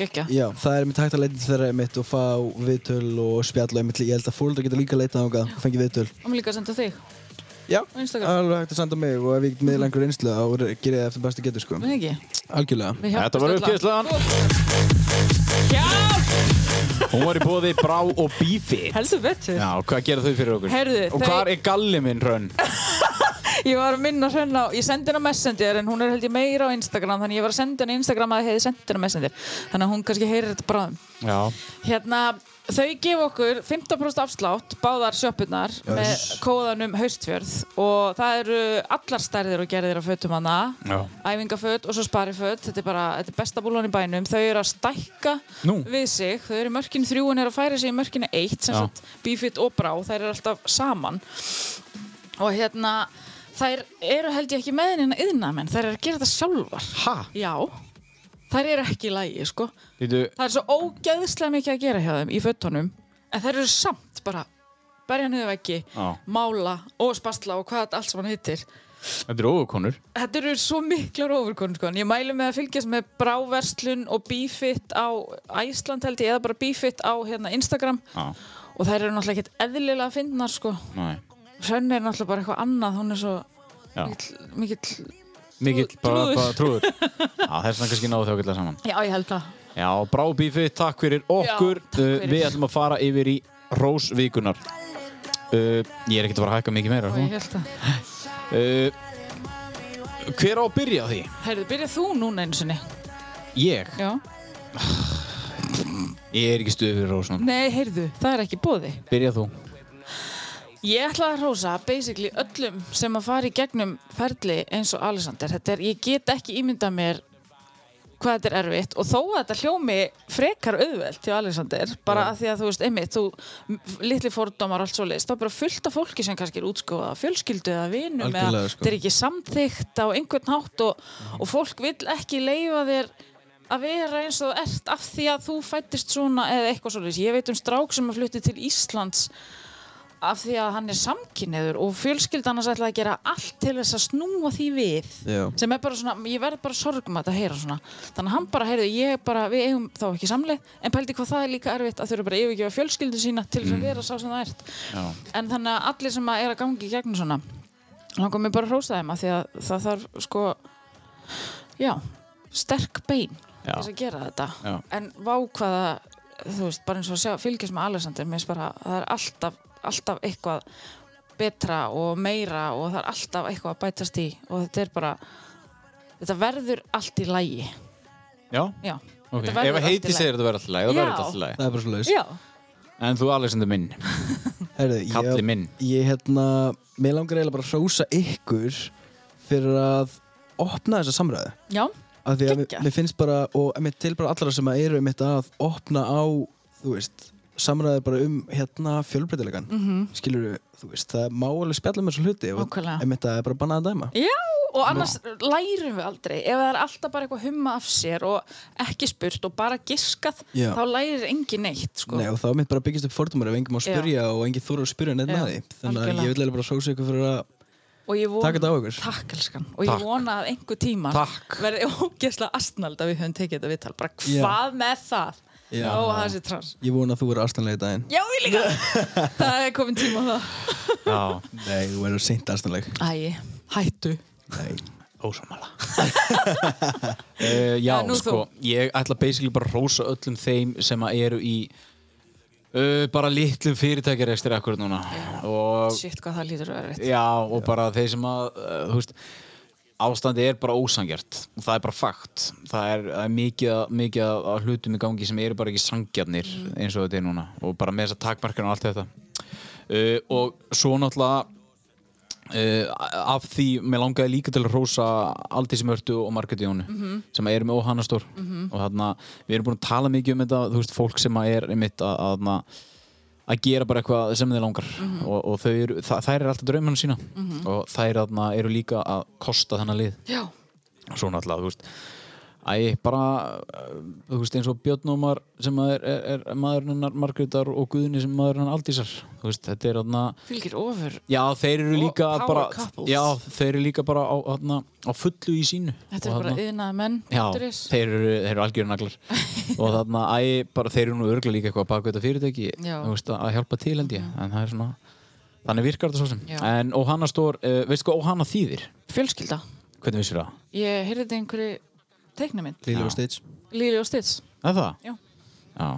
C: gekkja.
D: Já, það er mitt hægt að leita til þeirra einmitt og fá viðtöl og spjall og einmitt ég held að fólk geta líka að leita þangað og fengi viðtöl
C: Og mér líka að senda þig,
D: Já,
C: Á Instagram.
D: alveg hægt að senda mig og ef ég get miðlengur einslu þá gerir ég það eftir bestu getur sko
C: með ekki?
D: Algjörlega
C: Við hjálpumst
A: Þetta var
C: öll að-
A: uppkeyrslan.
C: Já,
A: Hún var í bóði Brá og Bífi.
C: heldur betur.
A: Já, og hvað gera þau fyrir okkur?
C: Heyrðu,
A: og
C: þau-
A: hvar er galli minn, Hrönn?
C: Ég var að minna hrenn á, ég sendi henni á Messenger en hún er held ég meira á Instagram þannig ég var að senda henni á Instagram að ég hefði sendið henni á Messenger þannig að hún kannski heyrir þetta bráðum
A: Já.
C: Hérna, þau gefa okkur 15% afslátt, báðar sjöpurnar með kóðanum haustfjörð og það eru allar stærðir og gerðir af fötum hana
A: Já.
C: æfingaföt og svo spariföt þetta er bara, þetta er besta búlan í bænum þau eru að stækka
A: Nú.
C: við sig þau eru í mörkinu þrjú en eru að færa sig í mörkinu eitt sem
A: Já.
C: sagt bífitt og brá, þær eru alltaf saman og hérna þær eru held ég ekki með henni yðnamenn, þær eru að gera þetta sjálfar
A: Ha?
C: já, þær eru ekki í lægi sko
A: Þýttu,
C: það er svo ógeðslega mikið að gera hjá þeim í föttunum en þær eru samt bara berja niður veggi,
A: Já.
C: mála og spastla og hvað þetta allt sem hann hittir
A: þetta eru óukonur.
C: Þetta eru svo miklar ofurkonur sko. en Ég mælu með að fylgjast með bráverslun og bífitt á Æsland held ég eða bara bífitt á hérna, Instagram
A: Já.
C: og þær eru náttúrulega ekkert eðlilega að finna sko.
A: Nei.
C: Sönni er náttúrulega bara eitthvað annað hún er svo
A: Já.
C: mikill, mikill
A: Mikill,
C: Trú-
A: bara,
C: trúður.
A: bara trúður. Já, þess vegna kannski náðu þau okkurlega saman.
C: Já, ég held það
A: Já, Brá og Bífi, takk fyrir okkur.
C: takk fyrir.
A: Uh, Við ætlum að fara yfir í Rósvíkunar. Uh, ég er ekkert að fara að hækka mikið meira.
C: og ég
A: sko.
C: held það
A: Uh, hver á að byrja á því?
C: Herðu, byrjað þú núna einu sinni
A: Ég?
C: Já.
A: Ég er ekki stuðið fyrir Rósvíkunar.
C: Nei, heyrðu, það er ekki bóði
A: Byrja þú.
C: Ég ætla að hrósa basically öllum sem að fara í gegnum ferli eins og Alexander. Þetta er, ég get ekki ímyndað mér hvað þetta er erfitt og þó að þetta hljómi frekar auðvelt til Alexander, bara að því að þú veist, einmitt, þú, m- litli fordómar og allt svo leist, þá er bara fullt af fólki sem kannski er útskóða, fjölskyldu eða vinum eða
D: Algjörlega, sko. Mhm.
C: þetta er ekki samþykkt á einhvern hátt og, og fólk vill ekki leifa þér að vera eins og þú ert af því að þú fættist svona eða eitthvað svo Ég veit um strák sem að flutti til Íslands af því að hann er samkynniður og fjölskyldan hans ætlaði að gera allt til þess að snúa því við
D: Já.
C: sem er bara svona, ég verð bara sorgum að heyra svona þannig að hann bara, heyrðu, ég bara, við eigum þá ekki samleið en pældi hvað það er líka erfitt að þurfa bara að yfirgefa fjölskyldu sína til þess að vera sá sem það ert
A: Já.
C: en þannig að allir sem að er að gangi í gegnum svona langar mig bara að hrósa þeim af því að það þarf sko já, sterk bein
A: Já.
C: til þess að gera þetta
A: Já.
C: en vákvaða þú veist, bara eins og að sjá, fylgjast með Alexander mér finnst bara að það er alltaf, alltaf eitthvað betra og meira og það er alltaf eitthvað að bætast í og þetta er bara þetta verður allt í lægi
A: Já.
C: já,
A: Ok,
C: þetta
A: ef að heiti segir þetta verður alltaf læg, það verður
C: Já.
A: þetta alltaf læg.
D: Það er bara svo leiðis
C: já,
A: En þú, Alexander minn,
D: Herðu, ég-
A: kalli minn.
D: Ég hérna, mér langar eiginlega bara að hrósa ykkur fyrir að opna þessa samræðu
C: já,
D: af því að mér,
C: Geggjað.
D: mér finnst bara, og mér til bara allra sem að eru mitt að opna á, þú veist samræðu bara um hérna fjölbreytilegan mm -hmm. skilur þú veist, það má alveg spjalla með þessu hluti og
C: Nákvæmlega.
D: einmitt að það er bara bannað að dæma
C: já og annars lærum við aldrei ef það er alltaf bara eitthvað humma af sér og ekki spurt og bara giskað
D: Já.
C: þá lærir engin neitt sko.
D: Nei, og þá er mitt bara byggist upp fordómar ef enginn má spyrja og enginn þóra að spyrja neitt
C: Já,
D: með því þannig að
C: algjörlega.
D: ég vil eiginlega bara sósa ykkur fyrir að
C: og ég vona,
D: Takk þetta á ykkur.
C: takk, elskan. og ég vona að einhver tíma
A: Takk.
C: verði ógeðslega astnald að við höfum tekið þetta viðtal bara
D: Já.
C: hvað með það
D: Já.
C: Ó, það sé trans
D: ég vona að þú verður astanlega í daginn
C: Já, ég líka Það er komin tíma á það
A: Já,
D: Nei, þú verður seint astanleg
C: Æ, hættu
D: Nei,
A: ósamála uh, Já,
C: Já, nú
A: sko, ég ætla basically bara að rósa öllum þeim sem að eru í uh, bara litlum fyrirtækjarekstir akkur núna og
C: Shit, hvað það lítur að vera rétt
A: Já, og bara þeir sem að uh, þú veist, ástandi er bara ósangjart og það er bara fakt það er, það er mikið, að- mikið að- að hlutum í gangi sem eru bara ekki sangjarnir eins og þetta er núna og bara með þessa takmarkana og allt þetta uh, og svo náttúrulega uh, af því mér langaði líka til að rósa Aldísi Mörtu og Margreti Jónu sem eru með óhannastór og þarna, við erum búin að tala mikið um þetta þú veist, fólk sem að er einmitt að, að, að að gera bara eitthvað sem þeir langar
C: Mhm.
A: og, og þau eru, þa þær eru alltaf draumann sína og þær þarna, eru líka að kosta þennan lið
C: Já,
A: og svo náttúrulega, þú veist Æ, bara, uh, þú veist, eins og Björn Ómar sem að er, er, er maðurinn hennar Margrétar og Guðni sem maðurinn hennar Aldísar þú veist, þetta er þarna
C: fylgir ofur
A: Já, þeir eru
C: Og
A: líka
C: power
A: bara
C: couples.
A: Já, þeir eru líka bara á, hana, á fullu í sínu
C: Þetta
A: Og
C: er bara
A: þarna-
C: yðnaða menn
A: Já,
C: punktur is.
A: þeir eru, þeir eru algjörn naglar og þarna, æ, bara þeir eru nú örgla líka eitthvað að baka þetta fyrirtæki
C: Já.
A: þú veist, að að hjálpa til held ég, en það er svona þannig virkar þetta svo sem,
C: Já.
A: en Óhanna stór uh, veistu hvað Óhanna þýðir,
C: Fjölskylda
A: hvernig vissir það?
C: Ég heyrði þetta í einhverju teiknamynd
D: Lilo og Stitch
C: Líli og Stitts
A: Er það?
C: Já.
A: Já.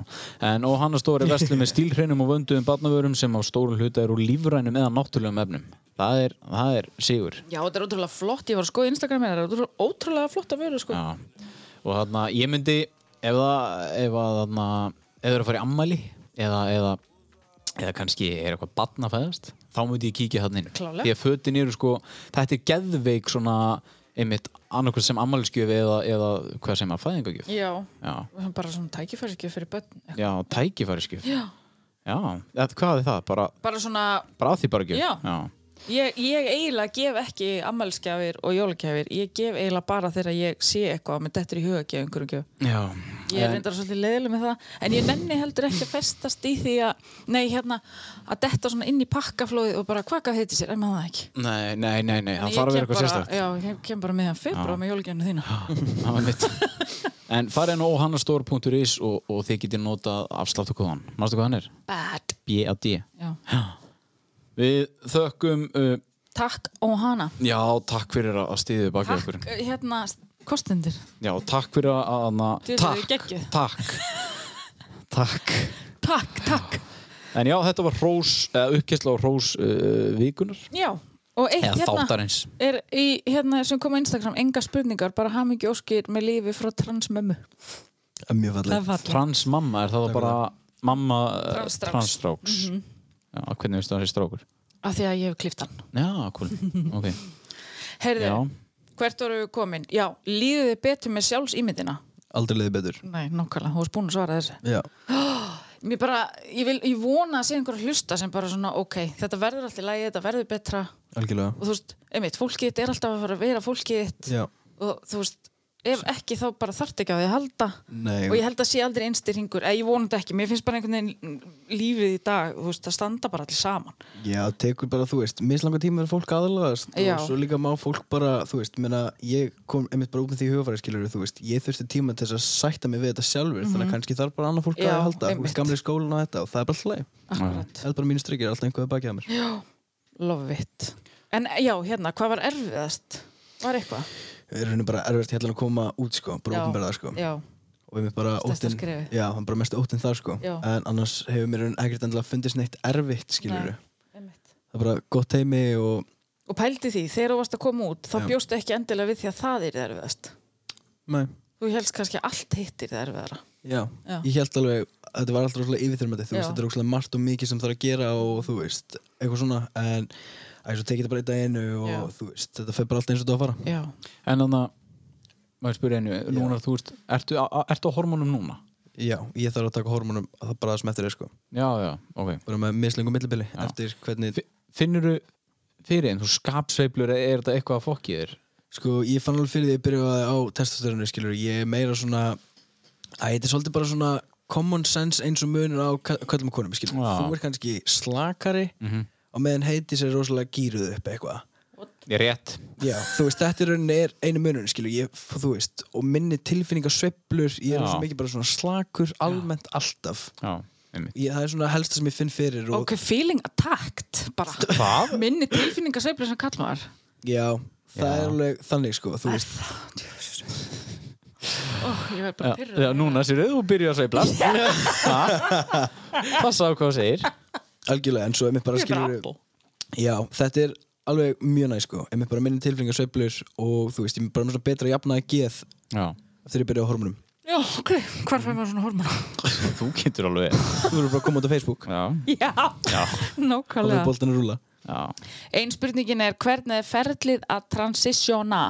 A: En Óhanna Stór er vestlið með stílhreinum og vönduðum barnavörum sem á stóru hluta eru úr lífrænum eða náttúrulegum efnum. Það er, það er sigur.
C: Já, þetta er ótrúlega flott, ég var að skoða Instagram með þetta er ótrúlega flott að vera sko
A: Já. og þarna ég myndi ef það ef að þarna ef það er að fara í ammæli eða, eða, eða kannski er eitthvað batna fæðast þá myndi ég kíkja þarna inn
C: Klárlega.
A: því að fötin eru sko þetta er geðveik svona einmitt annarkvæmst sem ammælisgjöf eða, eða hvað sem að fæðingagjöf
C: Já,
A: já,
C: bara svona tækifæri ekki fyrir börn
A: já tækifærisgjöf
C: Já,
A: já, eða, hvað er það? bara,
C: bara svona
A: bara að því bara gjöf
C: Já. Ég, ég eiginlega gef ekki ammælskjafir og jólagjafir, ég gef eiginlega bara þegar ég sé eitthvað og mér dettur í huga að gefa einhverjum gjöf.
A: já.
C: Ég er
A: En-
C: reyndar svolítið leiðileg með það, en ég nenni heldur ekki að festast í því að, nei hérna, að detta svona inn í pakkaflóðið og bara hvað gaf þetta sér, en maður það ekki.
A: Nei, nei, nei, nei, það
C: Ég
A: þarf að vera
C: kem
A: eitthvað
C: bara-
A: sérstakt
C: Já, ég kem bara meðan februar með jólagjafinu þína.
A: Það var mitt En farið nú á hannastór.is og, og þið getið nota afsláttu kóðan Mástu hvað hann er?
C: Bad.
A: B-A-D
C: Já.
A: Við þökkum uh,
C: Takk og hana.
A: Já, takk fyrir að styðja baki okkur
C: Takk, hérna, kostendur.
A: Já, takk fyrir að- að na,
C: Þið eruð
A: Takk,
C: geggjuð.
A: takk Takk
C: Takk, takk.
A: En já, þetta var hrós, eða uppkessla á hrós uh, vikunar
C: Já, og eitt
A: Eða
C: hérna.
A: þáttarins
C: er í, hérna sem kom á Instagram enga spurningar, bara hamingi óskir með lífi frá transmömmu
D: Það er Mjög fallið
C: falla
A: Transmamma, er það þá bara mamma eh,
C: Transstráks.
A: transstráks
C: Mhm.
A: Já, hvernig veistu það er strákur?
C: af því að ég hef klift hann
A: Já, cool, ok
C: Heyrðu,
A: Já.
C: hvert voru við komin? Já, líðu þið betur með sjálfsýmyndina?
D: Aldrei leiði betur
C: Nei, nokkala, þú varst búin að svara þessu
D: Já,
C: Mér bara, ég, vil, ég vona að sé einhverja hlusta sem bara svona, ok, þetta verður alltaf lægi, þetta verður betra og
D: algjörlega
C: þú veist, einmitt, fólkið þitt er alltaf að fara að vera fólkið þitt
D: Já,
C: og þú veist, ef ekki þá bara þarft ekki að því að halda
D: nei
C: og ég held að sé aldrei einstyrringur, eða ég vona þetta ekki mér finnst bara einhvern veginn lífið í dag þú veist, það standa bara allir saman
D: Já, tekur bara, þú veist, mislanga tíma er fólk aðlagast
C: Já.
D: og svo líka má fólk bara, þú veist, menna, ég kom einmitt bara út með því hugafæri skilur, þú veist, ég þurfti tíma til þess að sætta mig við þetta sjálfur, þannig að kannski þarf bara annað fólk
C: Mhm. Já,
D: að halda, þú
C: einmitt.
D: veist, gamli skólan og þetta og það er bara alltaf leið.
C: Akkurat,
D: Það er bara mínu strykir, alltaf einhverja bakið að mér.
C: lofvitt. En já, hérna, hvað var erfiðast? Var eitthvað?
D: Það er henni bara erfiðast hérna að koma út, sko, bara
C: Já,
D: ofnberða, sko.
C: Já,
D: og ég mér bara
C: Stærsta
D: óttinn
C: skrefið.
D: já, hann bara mest óttinn þar sko
C: Já.
D: en annars hefur mér raun ekkert endilega fundist neitt erfitt skilur
C: Nei.
D: við
C: einmitt.
D: það er bara gott heimi og
C: Og pældi því, þegar þú varst að koma út, þá
D: Já.
C: bjóstu ekki endilega við því að það er erfiðast.
D: Nei.
C: Þú helst kannski að allt hittir það erfiðara.
D: já.
C: Já.
D: ég held alveg að þetta var alltaf rosalega yfirþyrmandi þú
C: Já.
D: veist þetta er rosalega margt og mikið sem þarf að gera og þú veist eitthvað svona en að svo tekið þetta bara í daginu og
C: Já.
D: þú veist þetta fer bara allt eins og þetta á að fara
C: Já.
A: En þannig að maður spyrir einu, núna þú veist, ertu, a- a- ertu á hormónum núna?
D: já ég þarf að taka hormonum að það bara það sem eftir er sko
A: Já, já, ok.
D: bara með mislingum millibili eftir hvernig
A: Finnur þú fyrir einn, þú skapsveiflur eða er þetta eitthvað að fokkið þér?
D: Sko, ég fann alveg fyrir því að ég byrjaði á testostörunni, skilur, ég er meira svona að þetta er svolítið bara svona common sense eins og munur á ka- köllum og konum, skilur,
A: Já.
D: þú er kannski slakari
C: Mhm.
D: og meðan heiti sér rosalega gýruð upp eitthvað
A: Ég er rétt
D: Já, þú veist, þetta í rauninni er einu munurinn, skilur, ég, þú veist, og minni tilfinningasveiflur, ég er
A: Já.
D: svo mikið bara svona slakur, almennt, alltaf.
A: Já, einmitt
D: Ég, það er svona helsta sem ég finn fyrir og,
C: Ok, feeling attacked bara
A: Hvað?
C: Minni tilfinningasveiflu sem kallmaður
D: já, það
A: Já.
D: er alveg þannig, sko, þú veist,
C: oh, Ég verð bara
A: Já,
C: pyrrað
A: já, núna sér þú byrjar að sveiflast Ha? Passa á hvað þú segir
D: algjörlega, en svo emitt bara
C: Ég er bara
D: skilur
C: apple.
D: Já, þetta er alveg mjög næ, sko emitt bara minni tilfinningasveiflur og þú veist, ég er bara með svona betra jafna að geð
A: Já,
D: þegar ég byrja á hormonum
C: Já, ok, hvar fær maður svona hormona?
A: þú getur alveg
D: Þú verður bara að koma út á Facebook
A: Já,
C: Já,
A: já,
D: og þú er
C: nákvæmlega
D: boltan að rúla
A: já
C: Einn spurningin er hvernig er ferlið að transitiona?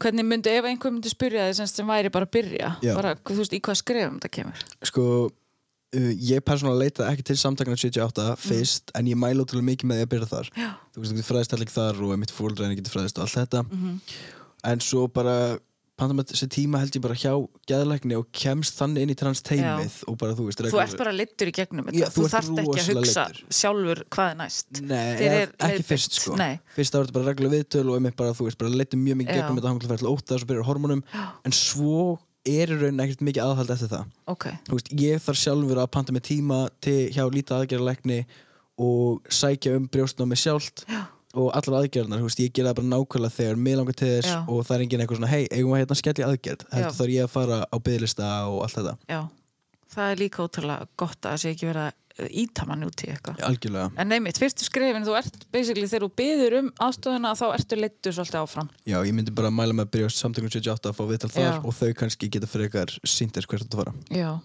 C: Hvernig myndi, ef einhver myndi spyrja þið sem, sem væri bara að byrja
D: Já.
C: bara, þú veist, í hvað skrefum þetta kemur
D: Sko, uh, ég persónulega leita ekki til samtakana 78
C: Mm.
D: fyrst en ég mæla útrúlega mikið með því að byrja þar Já. Þú veist, þú getur fræðist allir þar og emitt fóruldræðin getur fræðist og allt þetta
C: Mhm.
D: En svo bara pantum að þessi tíma held ég bara hjá geðlækni og kemst þannig inn í trans teimið og bara þú veist
C: Þú ert bara littur í gegnum þetta
D: Já, þú
C: Þú þarft ekki
D: ert
C: að
D: rosalega
C: hugsa
D: leiddur. Mm.
C: sjálfur hvað er næst
D: Nei,
C: Þér
D: eða
C: er
D: ekki
C: leiðbeint.
D: fyrst sko
C: Nei.
D: Fyrst ára þetta bara regla viðtöl og einmitt bara, þú veist, bara leitum mjög
C: Já.
D: mikið gegnum þetta hangla færslega óta svo byrjar hormónum, en svo er í raunin ekkert mikið aðhald eftir það
C: Ok,
D: Þú veist, ég þarf sjálfur að panta með tíma til hjá lítið aðgerðarleikni og sækja um brjóstnámi sjálft Já. og allar aðgerðarnar, þú veist, ég gera það bara nákvæmlega þegar mig langar til þess
C: Já.
D: og það er enginn eitthvað svona, hei, eigum við hérna skell í aðgerð
C: Já.
D: heldur þarf ég að fara á byðlista og allt þetta
C: já Það er líka ótrúlega gott að það sé ekki verið að íta mann út í eitthvað
D: Algjörlega,
C: En neymitt, fyrstu skrefin, þú ert basically þegar þú byður um aðstofuna þá ertu leittur svolítið áfram.
D: já, ég myndi bara mæla með að byrja á samtökum 78 að fá viðtal þar
C: Já.
D: og þau kannski geta frekar síndir hvert þú ert að fara
C: Já.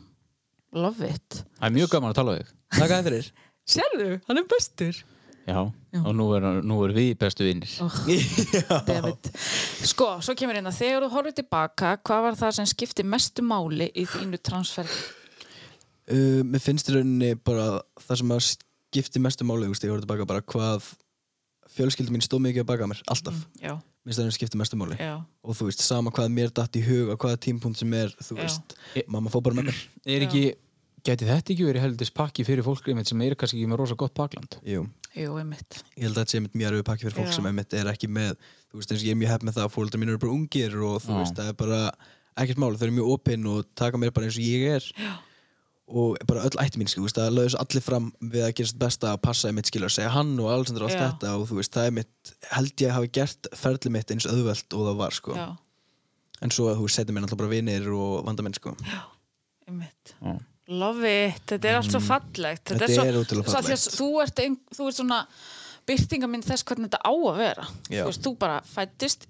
C: Love it.
A: Það er mjög gaman að tala við þig
D: Takk að þér
C: Sérðu, hann er bestur.
A: Já, og nú er, nú er við bestu vinnir
C: David. Sko, svo kemur hérna, þegar þú horfir tilbaka, hvað var það sem skipti mestu máli í þínu transferði?
D: Uh, mér finnst í rauninni bara það sem að skipti mestu máli þú veist, ég voru tilbaka bara hvað fjölskyldum mín stóð mikið að baka mér, alltaf mm.
C: Já,
D: minnst það er skipti mestu máli
C: já.
D: og þú veist, sama hvað mér datt í hug á hvaða tímpunkt sem er, þú
C: Já.
D: veist mamma fór bara með mér
A: Er ekki, gæti þetta ekki verið heldist pakki fyrir fólk einmitt sem er kannski ekki með rosa gott bakland
D: Jú.
C: Jú, einmitt.
D: ég held að þetta sé einmitt mjög erfið pakki fyrir fólk
C: Já.
D: sem einmitt er ekki með þú veist, eins og ég er mjög hepp með það að fólkdra mín eru bara ungir og þú
A: Já.
D: veist, það er bara ekkert máli, þau eru mjög opinn og taka mér bara eins og ég er Já. og bara öll ætti mín, sko, þú veist, það lögðu svo allir fram við að gera sitt besta að passa einmitt skilur að segja hann og Alexander og allt
C: Já.
D: þetta og þú veist, það er mitt, held ég hafi gert ferli mitt eins auðvelt og það var, sko
C: Já,
D: en svo að þú setja mér alltaf bara vinir og vandamenn, sko
C: einmitt.
A: Já.
C: Love it, þetta er allt svo fallegt.
D: Mm. Þetta
C: svo,
D: er ótrúlega
C: svo af því að
D: fallegt.
C: Þú ert, ein, þú ert svona byrtingaminn þess hvernig þetta á að vera.
D: Já.
C: Þú veist, þú bara fættist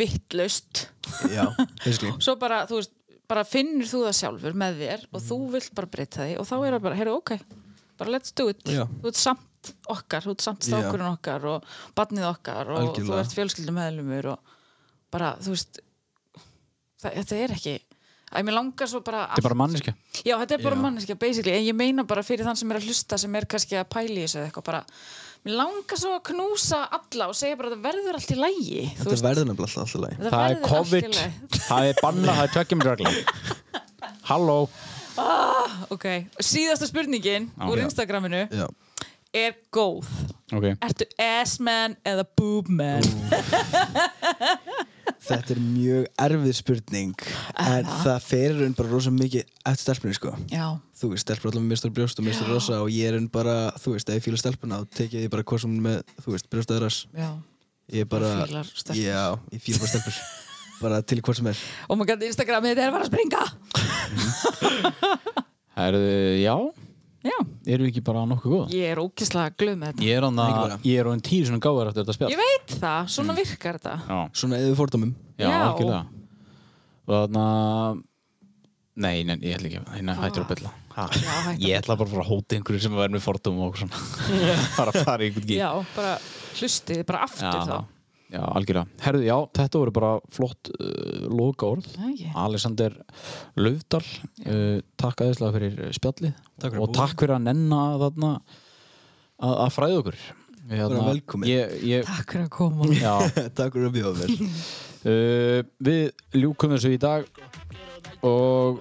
C: vittlaust
D: Já, basically
C: svo bara, þú veist, bara finnur þú það sjálfur með þér og þú
A: Mhm.
C: vilt bara breyta því og þá er það bara, heyrðu, ok, bara let's do it
D: Já.
C: þú ert samt okkar, þú ert samt
D: Já.
C: stákurinn okkar og barnið okkar og
D: Algjörlega.
C: þú ert fjölskyldum meðlumur og bara, þú veist það, þetta er ekki að mér langar svo bara,
A: Þetta er bara manneskja
C: já, þetta er bara
D: Já.
C: manneskja basically, en ég meina bara fyrir þann sem er að hlusta sem er kannski að pæli þessu eða eitthvað bara, mér langar svo að knúsa alla og segja bara, það verður allt í lægi
D: Þetta verður nefnilega alltaf alltaf læg
C: það,
A: Það er
C: verður allt í
A: COVID,
C: lagi.
A: það er banna, það er tveggjum regla Halló
C: Ok, síðasta spurningin úr Instagraminu
D: Já,
C: er góð.
A: Ok,
C: Ertu ass-man eða boob-man?
D: þetta er mjög erfið spurning en það fer í raun bara rosa mikið eftir stelpunni sko
C: Já,
D: þú veist, stelpur allavega með mistur brjóst og mistur rosa og ég er enn bara, þú veist, ef ég fíla stelpuna þá tekið ég bara hvað sem hún er með, þú veist, brjóst eða rass
C: já.
D: ég er bara,
C: Þú fílar stelpur.
D: já, ég fíla bara stelpur bara til hvað sem er
C: Oh my god, Instagramið þetta er bara að springa.
A: herðu, já,
C: Já,
A: erum við ekki bara nokkuð góð?
C: ég er ókislega glöð með þetta.
A: Ég er hann
D: Ekki
A: að,
D: bara.
A: ég er hann tíu svona gáðar eftir þetta spjall
C: Ég veit það, svona virkar þetta.
A: Já,
D: svona eða fordómum
A: já,
C: Já.
A: algjörlega Og þannig að Nei, nei, ég ætla ekki, að- nei, hættur að bylla
C: Ah. Já, hættu
A: Ég ætla bara að fara að hóta einhverju sem verður með fordum og svona bara að fara í einhvern gíl
C: Já, bara hlustið bara aftur þá.
A: Já, algjörlega. Herðu, já, þetta voru bara flott uh, loka orð.
C: Það ekki.
A: Alexander Löfdal, uh, takk aðeinslega fyrir spjallið
D: Takk fyrir
A: og
D: að búa.
A: takk fyrir að nenna þarna að, að fræða okkur. Ég,
D: Bara
A: þarna-
D: velkomin.
A: ég, ég,
C: Takk fyrir að koma.
A: já,
D: Takk fyrir að bjóða mér
A: uh, Við ljúkum þessu í dag og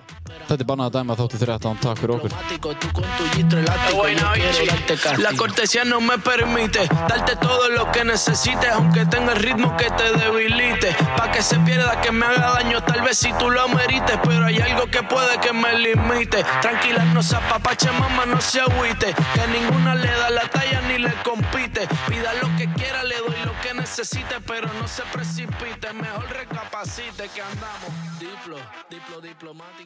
A: þetta er bannað að dæma þáttu 13 Takk fyrir okkur
B: Diplomático, tú con tu gistro elástico, yo quiero darte castigo. La cortesía no me permite darte todo lo que necesites, aunque tenga el ritmo que te debilite. Pa' que se pierda, que me haga daño, tal vez si tú lo merites, pero hay algo que puede que me limite. Tranquila, no se apapache, mamá, no se agüite. Que ninguna le da la talla ni le compite. Pida lo que quiera, le doy lo que necesite, pero no se precipite. Mejor recapacite que andamos. Diplo, diplo, diplomático.